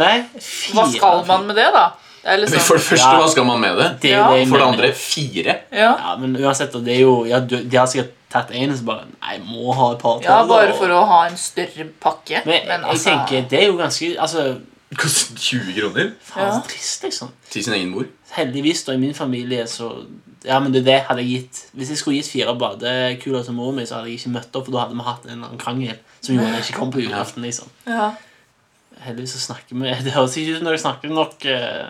S3: Nei, fire.
S2: Hva skal man med det, da? Det er
S1: For
S2: liksom
S1: det første,
S3: Ja.
S1: hva skal man med det?
S3: Det er
S2: Ja.
S3: det jeg
S1: For det
S3: mener.
S1: andre fire.
S2: Ja.
S3: Ja, men uansett, da, det er jo ja, du, De har sikkert tatt en som bare Nei, må ha et par til.
S2: ja,
S3: da.
S2: bare for å altså- ha en større pakke.
S3: Men, jeg tenker, det er jo ganske Altså,
S1: Kostet 20 kroner
S3: faen
S2: Ja.
S3: så trist, liksom.
S1: til sin egen mor.
S3: Heldigvis, da, i min familie, så Ja, men det, er det jeg hadde jeg gitt. Hvis jeg skulle gitt fire badekuler til moren min, så hadde jeg ikke møtt opp, for da hadde vi hatt en eller annen krangel som gjorde at jeg ikke kom på julaften, liksom.
S2: ja.
S3: Heldigvis så snakker vi Det høres ikke ut som dere snakker nok eh,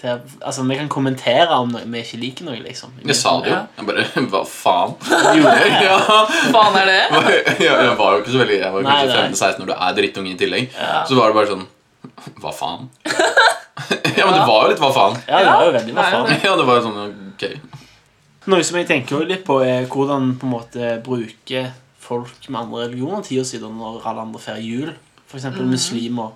S3: til Altså, vi kan kommentere om noe, vi ikke liker noe, liksom.
S1: Jeg sa det jo.
S2: Ja.
S1: Jeg bare Hva faen?
S3: Jo,
S1: ja.
S2: Faen er det?
S1: ja, jeg var jo ikke så veldig Jeg var jo
S3: Nei,
S1: kanskje
S3: nei.
S1: 15-16 når du er drittunge i tillegg.
S3: Ja.
S1: Så var det bare sånn Hva faen? ja, men det var jo litt hva faen.
S3: ja, det var jo veldig hva
S2: Ja.
S3: faen.
S1: Ja, det var jo sånn Ok.
S3: Noe som jeg tenker jo litt på, er hvordan på en måte bruker folk med andre religioner tida siden når alle andre feirer jul. F.eks.
S2: Mm.
S3: eksempel muslimer.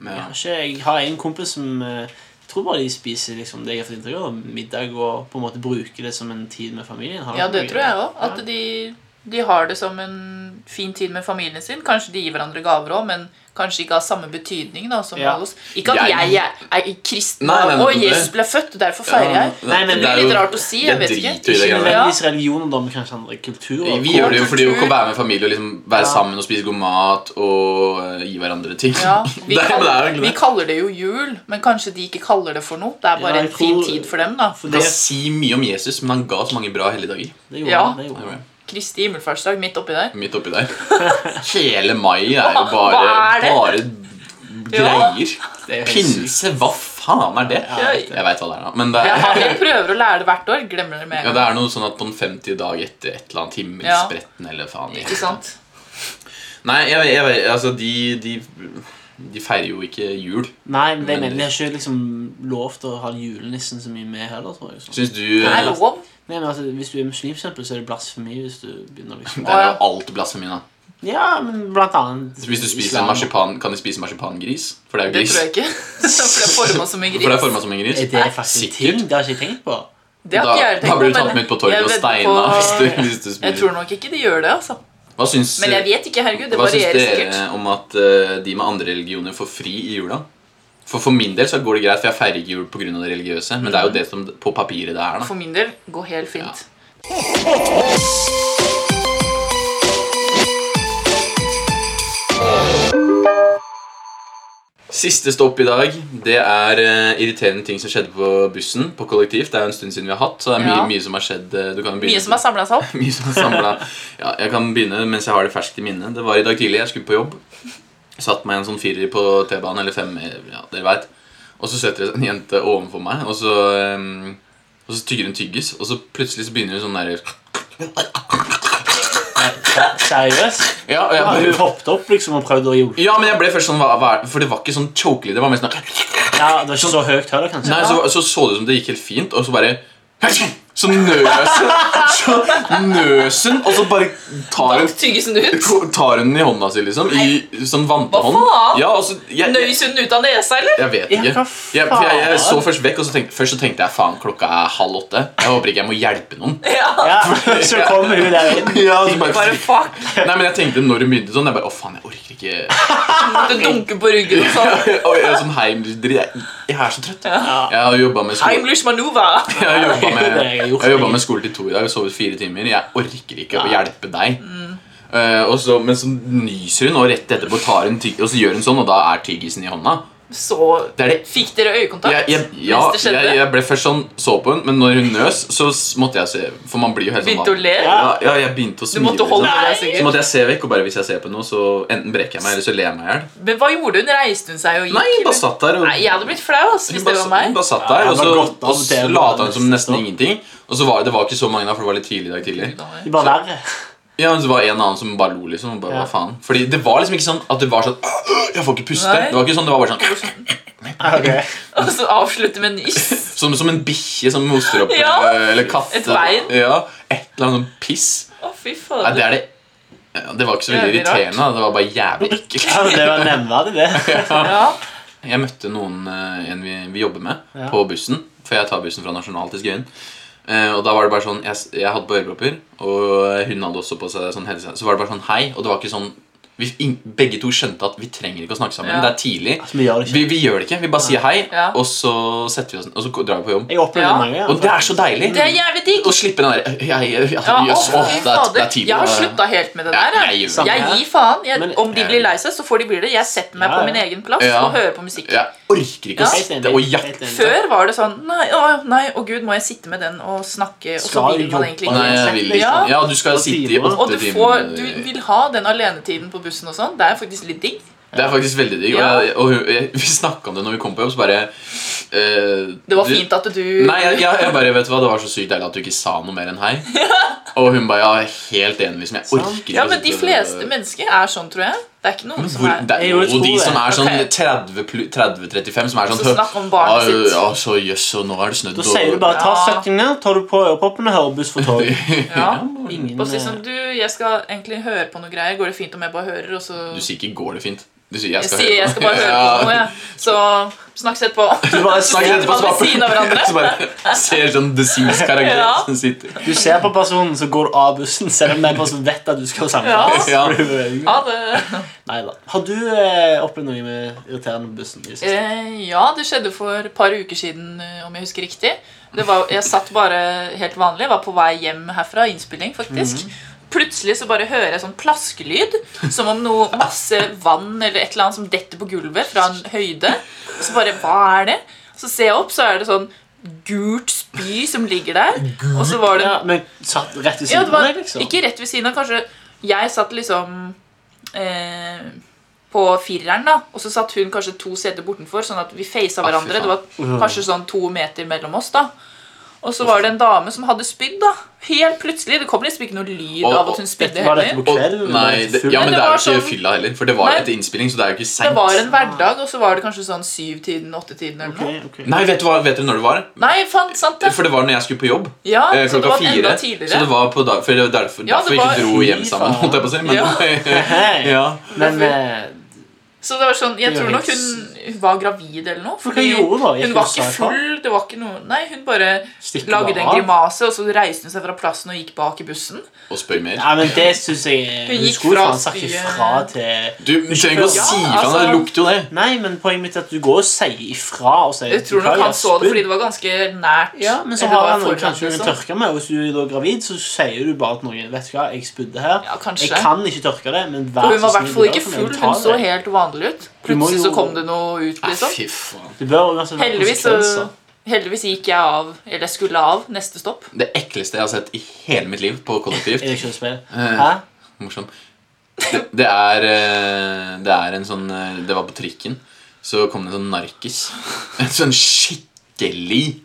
S1: Men,
S3: Jeg
S1: ja.
S3: har, ikke, jeg har en kompis som eh, jeg tror bare de spiser liksom, det jeg har fått inntrykk av, middag og på en måte bruker det som en tid med familien. Har
S2: Ja,
S3: dere
S2: det
S3: noe-
S2: tror jeg òg. At de, de har det som en fin tid med familien sin. Kanskje de gir hverandre gaver òg, men kanskje ikke har samme betydning. da som
S3: Ja.
S2: alle oss. Ikke at
S1: Jeg-
S2: jeg, er- er kristen
S1: Nei, nei, nei,
S2: og
S1: det-
S2: Jesus ble født, derfor feirer jeg.
S3: Nei, men
S2: Det
S3: det
S2: blir litt rart å si. Jeg vet
S1: Jeg
S2: ikke.
S1: driter i det
S3: Ikke
S1: greiene.
S3: nødvendigvis religioner, da, men kanskje andre kulturer.
S1: Vi gjør det jo fordi å
S2: kultur.
S1: være med familie og liksom være
S3: Ja.
S1: sammen og spise god mat og eh, gi hverandre ting.
S2: Ja, vi,
S1: det, er- men det er jo
S2: kaller,
S1: egentlig
S2: vi
S1: det.
S2: kaller det jo jul, men kanskje de ikke kaller det for noe. Det er
S3: Ja,
S2: bare
S3: jeg
S2: en fin
S3: tror-
S2: tid for dem, da.
S3: For
S1: Man
S3: det,
S1: kan si mye om Jesus, men han ga så mange bra helligdager.
S3: det gjorde
S2: Ja.
S3: han, det gjorde han.
S2: Kristi himmelfartsdag midt oppi der.
S1: Midt oppi der. Hele mai er jo
S2: Hva-
S1: bare,
S2: hva er det?
S1: bare
S2: Ja.
S1: greier.
S3: Det er jo helt sykt.
S1: Pinse, hva faen er det?
S3: Ja,
S2: jeg-
S1: Jeg veit hva det er, da. Men det
S2: Jeg,
S1: er,
S2: har, jeg prøver å lære det hvert år, glemmer det med
S1: ja, det
S2: en gang.
S1: er noe sånn at på den 50. dag etter et eller annet
S2: Ja.
S1: himmelspretten eller faen i-
S2: Ikke sant?
S1: Nei, jeg, jeg, jeg, altså, de, de, de feirer jo ikke jul.
S3: Nei, men det
S1: Men-
S3: mener jeg har ikke liksom lov til å ha julenissen så mye med heller, tror jeg. Sånn.
S1: Syns du eh,
S2: Det er
S1: Det
S2: lov.
S3: Nei, men altså, Hvis du er muslim, for eksempel, så er det blasfemi hvis du begynner liksom
S1: er jo alt blasfemi, da.
S3: Ja, men blant annet
S1: Så hvis du spiser
S3: islam.
S1: marsipan, kan de spise marsipangris? For det er jo
S2: Det
S1: gris.
S2: tror jeg ikke. For det er forma som en
S1: For det er
S2: gris.
S1: forma som en gris.
S3: Er det faktisk
S1: Sikkert.
S3: ting? Det har ikke jeg tenkt på.
S2: Det har
S1: da,
S2: ikke jeg tenkt
S1: da blir du
S2: på,
S1: tatt
S2: men
S1: med ut på torget
S2: jeg
S1: og
S2: vedder
S1: steina
S2: på-
S1: hvis, du- liksom hvis du
S2: Jeg
S1: spiser.
S2: tror nok ikke de gjør det, altså.
S1: Hva syns, eh,
S2: Men jeg vet ikke, herregud. Det
S1: hva syns
S2: varierer
S1: dere
S2: sikkert.
S1: om at eh, de med andre religioner får fri i jula? For for min del så går det greit, for jeg feirer ikke jul pga. det religiøse. Men det er jo det som på papiret det er. da
S2: For min del går helt fint.
S1: Siste stopp i dag, det er eh, irriterende ting som skjedde på bussen. På kollektiv, Det er jo en stund siden vi har hatt, så det er mye,
S2: Ja.
S1: mye som har skjedd. eh, Du kan jo begynne
S2: Mye som har samla seg opp.
S1: mye som er samlet. Ja, jeg kan begynne mens jeg har det ferskt i minne. Det var i dag tidlig. Jeg skulle på jobb. Satt meg i en sånn firer på T-banen, eller fem, ja, dere vet. Og så setter det seg en jente overfor meg, og så, ehm, og så tygger hun tyggis. Og så plutselig så begynner hun sånn der
S3: Se- Seriøst?
S1: Ja, og jeg
S3: Har du
S1: bare
S3: hoppet opp liksom og prøvd å hjelpe?
S1: ja, men jeg ble først sånn hva, hva er det? For det var ikke sånn chokelig. Det var mer sånn
S3: Ja, det var ikke så høyt heller, kanskje?
S1: Nei, så så, så det ut som det gikk helt fint, og så bare Så nøsen Så nøsen, og så bare tar hun
S2: Tyggesen ut.
S1: Ko- Tar hun den i hånda si, liksom? I sånn vantehånd?
S2: Hva faen?
S1: Ja, altså, jeg, jeg,
S2: Nøys hun ut av nesa, eller?
S1: jeg vet
S3: Ja,
S1: ikke.
S3: hva
S1: Jeg, for jeg, jeg
S3: faen?
S1: så først vekk, og så tenkte, først så tenkte jeg faen, klokka er halv åtte. Jeg håper ikke jeg må hjelpe noen.
S2: Ja,
S3: Ja, så kommer hun der inn.
S1: Ja, så bare,
S2: bare fuck.
S1: Nei, men jeg tenkte når hun begynte sånn, jeg bare å faen, jeg orker ikke.
S2: Du dunker på ryggen og sånn.
S1: Og jeg er sånn heimdritt. Jeg, jeg er så trøtt.
S3: Ja.
S1: Jeg har jobba med skole.
S2: Heimlich manøver.
S1: Jeg har jobba
S3: Det
S1: med,
S3: har jeg
S1: jeg
S3: gjort.
S1: har jobbet med skole til to i dag og sovet fire timer. Jeg orker ikke å hjelpe deg. Eh, og så, men så nyser hun, og rett etterpå tar hun tygg, og så gjør hun sånn, og da er tyggisen i hånda.
S2: Så
S1: Det er det
S2: fikk dere øyekontakt
S1: jeg, jeg, ja,
S2: mens det skjedde.
S1: jeg, jeg ble først sånn så på hun, men når hun nøs, så s- måtte jeg se. For man blir jo helt sånn
S2: Begynte å le.
S1: Ja, ja, jeg begynte å
S2: Du
S1: smile.
S2: måtte holde
S1: liksom.
S2: deg
S1: Så
S2: sikkert.
S1: måtte jeg se vekk, og bare hvis jeg ser på noe, så enten brekker jeg meg, eller så ler jeg meg i hjel.
S2: Men hva gjorde hun? Reiste hun seg og gikk?
S1: Nei, hun
S2: eller?
S1: bare satt der. Og,
S2: Nei, jeg hadde blitt flau ass,
S1: hun
S2: hvis det
S1: bare,
S2: var
S1: hun
S2: meg.
S1: bare satt der,
S3: Ja,
S1: og
S3: det var
S1: så,
S3: godt av
S1: og så
S3: det,
S1: lata
S3: men-
S1: hun som nesten ingenting. Og så var det var ikke så mange da, for det var litt tidlig i dag tidlig.
S3: Det er bare verre.
S1: Ja, men så var det en annen som bare lo, liksom. Og bare,
S3: Ja.
S1: hva faen? Fordi det var liksom ikke sånn at det var sånn Jeg får ikke puste.
S2: Nei.
S1: Det var ikke sånn, det var bare sånn
S3: Ok.
S2: Og så avslutte med en nyss.
S1: Som, som en bikkje som hoster opp
S2: Ja.
S1: eller- eller katt.
S2: Et bein.
S1: Ja, et eller annet sånn piss.
S2: Å,
S1: Nei,
S2: fy
S1: det
S2: fader.
S1: er det ja, Det var ikke så veldig
S2: Jævlig rart.
S1: irriterende. da. Det var bare jævlig
S3: Ja, men
S1: ekkelt.
S3: det var nevneverdig, det.
S2: Ja.
S1: Jeg møtte noen eh, en vi, vi jobber med,
S3: Ja.
S1: på bussen. For jeg tar bussen fra Nasjonal til Skøyen. Eh, og da var det bare sånn Jeg, s- jeg hadde på ørepropper, og hun hadde også på seg sånn helse. Så var det bare sånn hei, og det var ikke sånn vi, ing- Begge to skjønte at vi trenger ikke å snakke sammen.
S2: Ja.
S1: Det er tidlig.
S3: Altså, vi gjør det
S1: Vi,
S3: ikke.
S1: vi gjør det ikke. Vi bare sier hei,
S2: Ja.
S1: og så setter vi oss ned, og så drar vi på jobb.
S3: Jeg opplever
S2: Ja.
S3: det mange ganger.
S1: Og det er så deilig.
S2: Det er jævlig digg.
S1: Å slippe den der jeg, jeg, jeg,
S2: Ja, å,
S1: jøss,
S2: fy
S1: åh, det, er, det er
S2: fader.
S1: tidlig.
S2: Jeg har slutta helt med det
S1: Ja,
S2: der.
S1: jeg
S2: Jeg,
S1: gjør
S3: det.
S2: jeg gir faen. Jeg,
S3: Men-
S2: om de blir lei seg, så får de bli det. Jeg setter meg
S3: Ja,
S2: på
S3: ja.
S2: min egen plass
S1: Ja.
S2: og hører på musikk.
S1: Jeg orker ikke å
S2: Ja.
S1: sitte og jakte.
S2: Før var det sånn Nei, å, nei, å gud, må jeg sitte med den og snakke? Og så
S3: Skal
S2: vil man
S3: jobbe.
S2: egentlig
S1: Nei,
S2: ikke
S1: jeg vil ikke.
S2: Ja.
S1: Ja, du skal
S3: Og
S1: sitte i
S3: timer.
S1: åtte
S2: Og du,
S1: timer.
S2: får, du vil ha den alenetiden på bussen og sånn. Det er faktisk litt digg.
S1: Det er faktisk veldig digg.
S2: Ja.
S1: Og, jeg, og hun- jeg, vi snakka om det når vi kom på jobb, så bare eh,
S2: Det var
S1: du-
S2: fint at du
S1: Nei, jeg, jeg, jeg bare, vet du hva, Det var så sykt deilig at du ikke sa noe mer enn hei. Og hun bare ja, helt enig. liksom, Jeg orker ikke
S2: Ja,
S1: å
S2: men de
S1: sitte-
S2: fleste mennesker er sånn, tror jeg. Det er ikke noen
S1: Men
S2: som
S1: hvor,
S2: er
S1: det er
S3: Jeg
S1: jo
S3: vil tro
S1: de
S3: det.
S1: som er sånn
S2: Ok.
S1: 30 plu- 30-35, som er
S2: Og
S1: sånn
S2: så snakke om barnet
S1: «Ja,
S2: sitt.
S1: Ja, så jøss, og nå er det snødd.
S3: Da sier du bare ta
S2: Ja.
S3: settingen ned, tar du på øreproppene, hører buss for tog.
S2: Ja.
S3: Ingen,
S2: Bare si
S3: eh,
S2: sånn, du, jeg skal egentlig høre på noe greier. Går det fint om jeg bare hører, og så
S1: Du sier ikke 'går det fint'? Du sier 'jeg
S2: Jeg
S1: skal
S2: sier jeg skal bare høre på noe, jeg. Så snakkes etterpå.
S3: du, bare
S1: Snakker
S3: ser,
S1: etterpå, så
S2: Sitter man ved siden av hverandre?
S1: så bare ser sånn The Sims-karakter
S2: Ja.
S1: som sitter
S3: du ser på personen, så går du av bussen, selv om den personen vet at du skal
S2: Ja.
S3: samles.
S1: Ja.
S2: Ha det.
S3: Neida. Har du eh, opplevd noe med irriterende bussen? i det siste?
S2: Eh, ja, det skjedde for et par uker siden, eh, om jeg husker riktig. Det var, jeg satt bare helt vanlig, var på vei hjem herfra, innspilling faktisk. Plutselig så bare hører jeg sånn plaskelyd, som om noe masse vann eller et eller annet som detter på gulvet fra en høyde. Og så bare, hva er det? Så ser jeg opp, så er det sånn gult spy som ligger der. Og så var det
S3: Ja, men satt rett ved
S2: ja,
S3: siden
S2: det
S3: av
S2: var
S3: deg, liksom?
S2: ikke rett ved siden av. Kanskje jeg satt liksom eh, på fireren, da, og så satt hun kanskje to seter bortenfor, sånn at vi facet
S1: fy
S2: hverandre. Det
S1: faen. Mm.
S2: var kanskje sånn to meter mellom oss, da. Og så var det en dame som hadde spydd, da. Helt plutselig. Det kom liksom ikke noe lyd
S1: Og-
S2: av
S1: og
S2: at hun
S3: Dette-
S2: spydde
S3: var dette
S2: heller.
S3: på
S1: og,
S3: kvelden? eller var
S1: Nei,
S3: dette
S1: det,
S3: full?
S1: ja, men
S2: Men
S1: det
S2: det
S1: er jo
S2: var
S1: ikke
S2: sånn-
S1: fylla heller, for det var
S2: Nei.
S1: etter innspilling, så det er jo ikke
S2: Det
S1: seint.
S2: var en hverdag, og så var det kanskje sånn syvtiden, åttetiden eller noe.
S3: Ok, ok.
S1: Nei, vet du, hva, vet dere når det var?
S2: Nei, faen, sant det.
S1: For det var når jeg skulle på jobb.
S2: Ja,
S1: eh,
S2: Ah, så det
S1: klokka
S2: var enda
S1: fire. Så
S2: tidligere.
S1: det var på dag, for det var derfor,
S2: Ja,
S1: derfor
S2: det
S1: vi
S2: var-
S1: ikke dro hjem
S3: Fy
S1: sammen,
S3: faen.
S1: holdt jeg på å si. Men,
S3: Hei.
S1: eh, ja.
S3: Men eh,
S2: Så det var sånn, Jeg
S3: Det
S2: tror
S3: var
S2: nok hun
S3: helt
S2: hun var gravid eller noe.
S3: For hva gjorde hun da? Gikk
S2: Hun var
S3: hun
S2: ikke
S3: seg fra?
S2: full. det var ikke noe, Nei, hun bare
S3: Stikker
S2: lagde en
S3: av?
S2: grimase, og så reiste hun seg fra plassen og gikk bak i bussen.
S1: Og spør mer.
S3: Nei, men det syns jeg
S2: Hun
S3: Hun
S2: gikk
S3: skulle
S2: fra
S3: faen sagt
S2: spyet.
S3: ifra til
S1: Du trenger ikke å
S3: Ja,
S1: si fra,
S2: altså-
S1: det lukter jo det.
S3: Nei, men poenget mitt er at du går og sier ifra. og sier
S2: Jeg tror nok han så det fordi det var ganske nært.
S3: Ja, men så
S2: eller
S3: har
S2: var
S3: han noe
S2: foran,
S3: kanskje hun
S2: liksom.
S3: kan tørke med, og hvis du er da gravid, så sier du bare til noen Vet du hva, jeg spydde her.
S2: Ja, kanskje.
S3: jeg kan ikke tørke det, men
S2: Og
S3: vær
S2: hun var i
S3: så
S2: hvert
S3: snill.
S2: fall ikke full. Hun så helt vanlig ut.
S3: Du må
S2: Plutselig
S3: jo-
S2: så kom det noe ut,
S1: Nei,
S2: liksom.
S1: fy faen.
S3: Det bør uansett være sånn
S2: Heldigvis, så,
S3: konsekvenser.
S2: heldigvis gikk jeg av, eller jeg skulle av, neste stopp.
S1: Det ekleste jeg har sett i hele mitt liv på kollektivt.
S3: Er det kjønnsspill?
S1: Eh,
S3: Hæ?
S1: Morsom. Det, det er eh, Det er en sånn eh, Det var på trikken. Så kom det en sånn narkis. En sånn skikkelig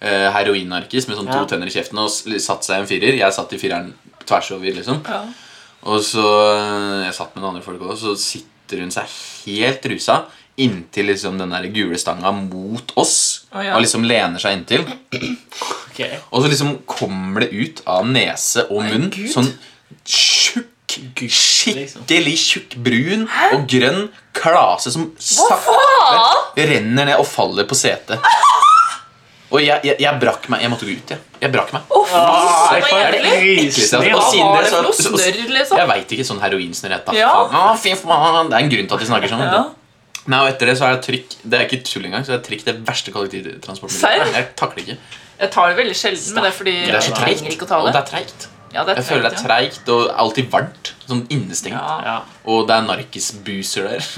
S1: eh, heroinnarkis med sånn to
S3: Ja.
S1: tenner i kjeften og s- satte seg i en firer. Jeg satt i fireren tvers over, liksom.
S2: Ja.
S1: Og så eh, Jeg satt med noen andre folk òg, så sitter hun seg helt rusa inntil liksom den der gule stanga mot oss.
S2: Å, ja.
S1: Og liksom lener seg inntil.
S3: Ok.
S1: Og så liksom kommer det ut av nese og munn
S2: Gud.
S1: sånn tjukk,
S3: liksom.
S1: skikkelig tjukk brun og grønn klase som
S2: faen?
S1: sakte renner ned og faller på setet. Og jeg, jeg, jeg brakk meg. Jeg måtte gå ut, jeg. Jeg brakk meg.
S2: Å, fy
S3: Ah, jeg
S2: søren,
S3: får
S2: så jævlig!
S3: rysninger.
S1: Og
S2: Hva
S1: siden
S2: var
S1: det
S2: det for
S1: så-
S2: noe
S1: så-
S2: snørr, liksom?
S1: Jeg veit ikke. Sånn heroinsnurr jeg tar.
S2: Ja.
S1: Å, fy faen. Det er en grunn til at de snakker sånn. vet du.
S2: Ja.
S1: Nei, og etter det så er det trykk. Det er ikke tull engang. Så det er trykk det verste kollektivtransportmiljøet.
S2: Serr?
S1: Jeg takler ikke.
S2: Jeg tar det veldig sjelden, men det er fordi
S1: Det er
S2: jeg
S1: så treigt.
S2: trenger ikke å ta
S1: Og
S2: det.
S1: det er treigt.
S2: Ja, det er
S1: Jeg føler det er
S2: treigt, ja.
S1: treigt og alltid varmt. Sånn innestengt.
S2: Ja.
S3: Ja.
S1: Og det er narkisbuser der.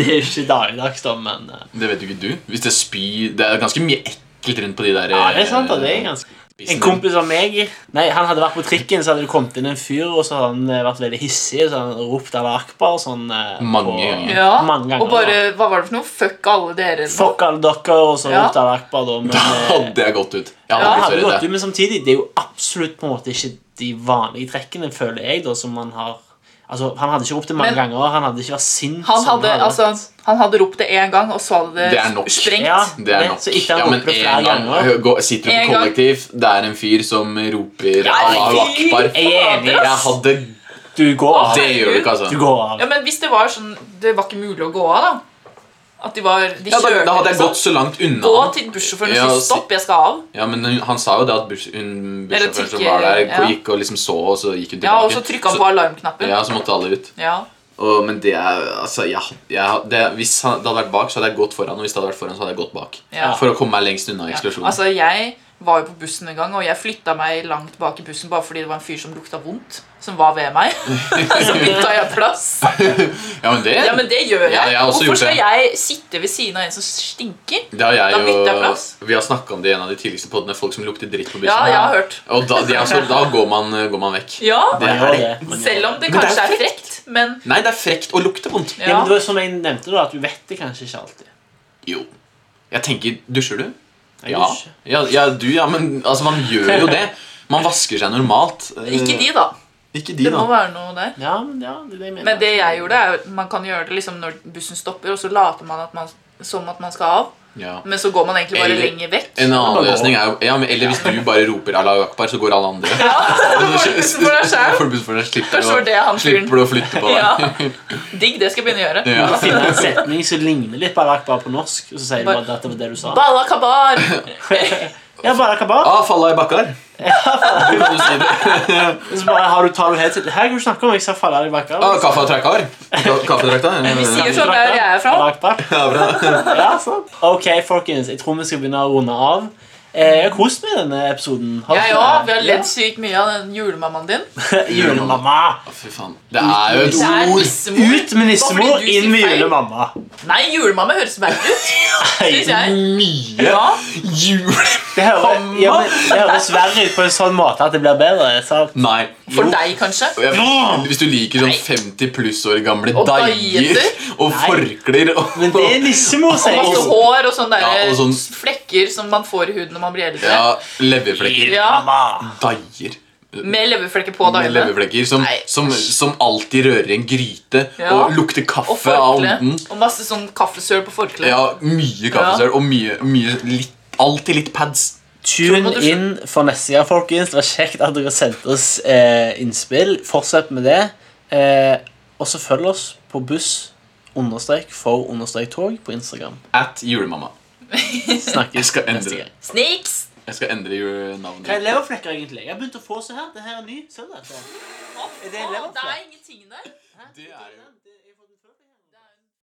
S3: Det er jo ikke dagligdags, da, men eh,
S1: Det vet jo ikke du. Hvis det spyr Det er ganske mye ekkelt rundt på de der eh,
S3: Ja, det er sant. da, det er ganske En kompis av meg Nei, Han hadde vært på trikken, så hadde det kommet inn en fyr, og så hadde han eh, vært veldig hissig, så hadde han ropt Allah akbar sånn eh,
S1: Mange
S3: på-
S1: ganger.
S2: Ja,
S3: mange ganger.
S2: og bare, hva var det for noe? Fuck alle dere eller noe?
S3: Fuck alle dere, og så
S2: Ja.
S3: ropt Allah akbar, da. Men,
S1: Da
S3: eh,
S1: hadde jeg gått ut. Jeg hadde
S2: Ja,
S3: det
S1: blitt
S3: hadde
S1: så
S3: gått
S1: redd.
S3: ut, men samtidig, det er jo absolutt på en måte ikke de vanlige trekkene, føler jeg, da, som man har Altså, Han hadde ikke ropt det mange
S2: Men-
S3: ganger, han hadde ikke vært sint.
S2: Han
S3: som
S2: hadde,
S3: hadde
S2: altså, han hadde ropt det én gang, og så hadde
S1: Det er nok.
S2: det sprengt.
S3: Ja.
S1: jeg. Det er nok.
S3: Så ikke han
S1: ja, men
S3: roper det flere
S1: en gang
S3: ganger.
S1: hø- gå- Sitter du
S2: En
S1: på
S2: gang.
S1: kollektiv, det er en fyr som roper
S2: Ja,
S1: Allah
S2: fy
S1: akbar.
S3: Jeg er enig.
S1: Jeg hadde
S3: Du går av.
S1: Det gjør du ikke,
S3: Du
S1: altså.
S3: går av.
S2: Ja, men hvis det var sånn Det var ikke mulig å gå av, da. At de var De
S1: Ja, da,
S2: kjørte
S1: da hadde jeg
S2: liksom.
S1: gått så langt unna.
S2: Gå
S1: han.
S2: til bussjåføren
S1: Ja, altså,
S2: og
S1: og
S2: si
S1: si-
S2: 'stopp, jeg skal av'.
S1: Ja, men hun- han sa jo det at bus- hun-
S2: Eller
S1: bussjåføren som
S2: tikker,
S1: var der,
S2: ja.
S1: gikk og liksom så, og så gikk hun
S2: Ja,
S1: tilbake.
S2: Og så trykka han på alarmknappen.
S1: Ja, så måtte alle ut.
S2: Ja.
S1: Og, men det er Altså, jeg, jeg, det, hvis han, det hadde vært bak, så hadde jeg gått foran. Og hvis det hadde vært foran, så hadde jeg gått bak.
S2: Ja.
S1: For å komme meg lengst unna eksplosjonen.
S2: Altså, jeg var jo på bussen en gang, og jeg flytta meg langt bak i bussen bare fordi det var en fyr som lukta vondt, som var ved meg. så bytta jeg plass.
S1: Ja, men det,
S2: Ja, men det gjør jeg.
S1: Ja, jeg har også
S2: Hvorfor
S1: gjort
S2: skal
S1: det.
S2: jeg sitte ved siden av en som stinker?
S1: det har jeg
S2: Da bytter jeg
S1: jo
S2: plass.
S1: Vi har snakka om det i en av de tidligste podene. Folk som lukter dritt på bussen.
S2: Ja, jeg har hørt.
S1: Og da, de, altså, da går, man, går man vekk.
S2: Ja,
S1: Det
S3: Man gjør
S1: er det.
S3: det. Man gjør
S2: selv om det
S1: Men det er
S2: kanskje er
S1: frekt.
S2: frekt, men
S1: Nei, det er frekt å lukte vondt.
S3: Ja,
S2: ja.
S3: men det var som jeg nevnte, da, at du vet det kanskje ikke alltid.
S1: Jo. Jeg tenker Dusjer du?
S3: Jeg
S1: Ja.
S3: gjør ikke.
S1: Ja, ja, du, ja, men altså, man gjør jo det. Man vasker seg normalt. Eh,
S2: Ikke de, da.
S1: Ikke de,
S2: Det må
S1: da.
S2: være noe der.
S3: Ja, men ja, det er det jeg mener.
S2: Men det jeg gjorde, er jo- man kan gjøre det liksom når bussen stopper, og så later man, at man som at man skal av.
S1: Ja.
S2: Men så går man egentlig bare
S1: Eller-
S2: lenger vekk.
S1: En annen
S3: Bare gå.
S1: løsning er jo ja, men, Eller hvis du bare roper Allah Akbar, så går alle andre.
S2: Du får bussen for deg selv.
S1: Får du bussen for deg, slipper,
S2: Kanskje var det han
S1: å, slipper du å flytte på
S2: Ja.
S1: deg.
S2: Digg, det skal jeg begynne å gjøre.
S1: Ja.
S3: Finne en setning som ligner litt på Alak, bare på norsk, og så sier du
S2: Bare-
S3: bare at det var det du sa.
S2: Balla kabar!
S3: Ja, bare kabar.
S1: Ah, falla i bakkar. Kan du si det?
S3: Og så bare har du, tar du helt sitt. Her kan du snakke om jeg sa falla i bakken.
S1: Ah, kaffe og trekkar. Ka- Kaffetrakta.
S2: Vi
S1: Ja,
S2: sier sånn der jeg er fra.
S1: bra.
S3: Ja, sant. Ok, folkens, jeg tror vi skal begynne å runde av. Eh, Jeg har kost meg i denne episoden.
S2: Jeg òg.
S3: du
S2: Vi
S3: ikke det?
S2: har ledd sykt mye av den julemammaen din.
S3: Ja. Julemamma.
S1: Å, Fy faen. Det er jo
S2: Det
S1: et
S2: er
S1: ord.
S2: nissemor.
S3: Ut med
S2: Bare
S3: nissemor,
S2: fordi du sier
S3: inn med
S2: feil.
S3: julemamma.
S2: Nei, julemamma høres verre ut. Synes jeg.
S1: Mye
S2: Ja.
S1: jul...
S3: Det hører- ja, men det høres verre ut på en sånn måte at det blir bedre. sant?
S1: Nei.
S2: For
S1: Jo.
S2: deg, kanskje.
S1: Og jeg- Hvis du liker sånn 50 pluss år gamle
S2: Og
S1: daier
S2: daieter.
S1: og
S3: Nei.
S1: forklær og
S3: Men det er nissemor, sier
S2: Masse
S3: jeg.
S2: hår og sånne
S1: Ja,
S2: der
S1: og sånn-
S2: flekker som man får i huden når man blir eldre.
S1: ja, leverflekker.
S3: Julemamma.
S1: Daier.
S2: Med leverflekker på
S1: Med
S2: dagene.
S1: leverflekker som,
S2: Nei.
S1: som, som alltid rører i en gryte
S2: Ja.
S1: og lukter
S2: Og
S1: kaffe av
S2: forkle.
S1: ånden.
S2: Og masse sånn kaffesøl på forkleet.
S1: Ja, mye kaffesøl og mye, mye litt, alltid litt pads.
S3: Tune
S2: Tror du-
S3: inn for neste gang, folkens. Det var kjekt at dere sendte oss eh, innspill. Fortsett med det. Eh, og så følg oss på buss understrek for understrek tog på Instagram.
S1: At julemamma. Jeg
S3: Snakkes
S1: skal endre.
S3: neste gang.
S2: Sniks!
S1: Jeg skal endre jule- navnet.
S3: Hva er leverflekker egentlig? Jeg har begynt å få se her. Det her er ny. Ser du dette?
S2: Å,
S3: Er det en
S2: faen, Det
S3: leverflekker?
S2: er ingenting der.
S1: Det er jo-
S3: jo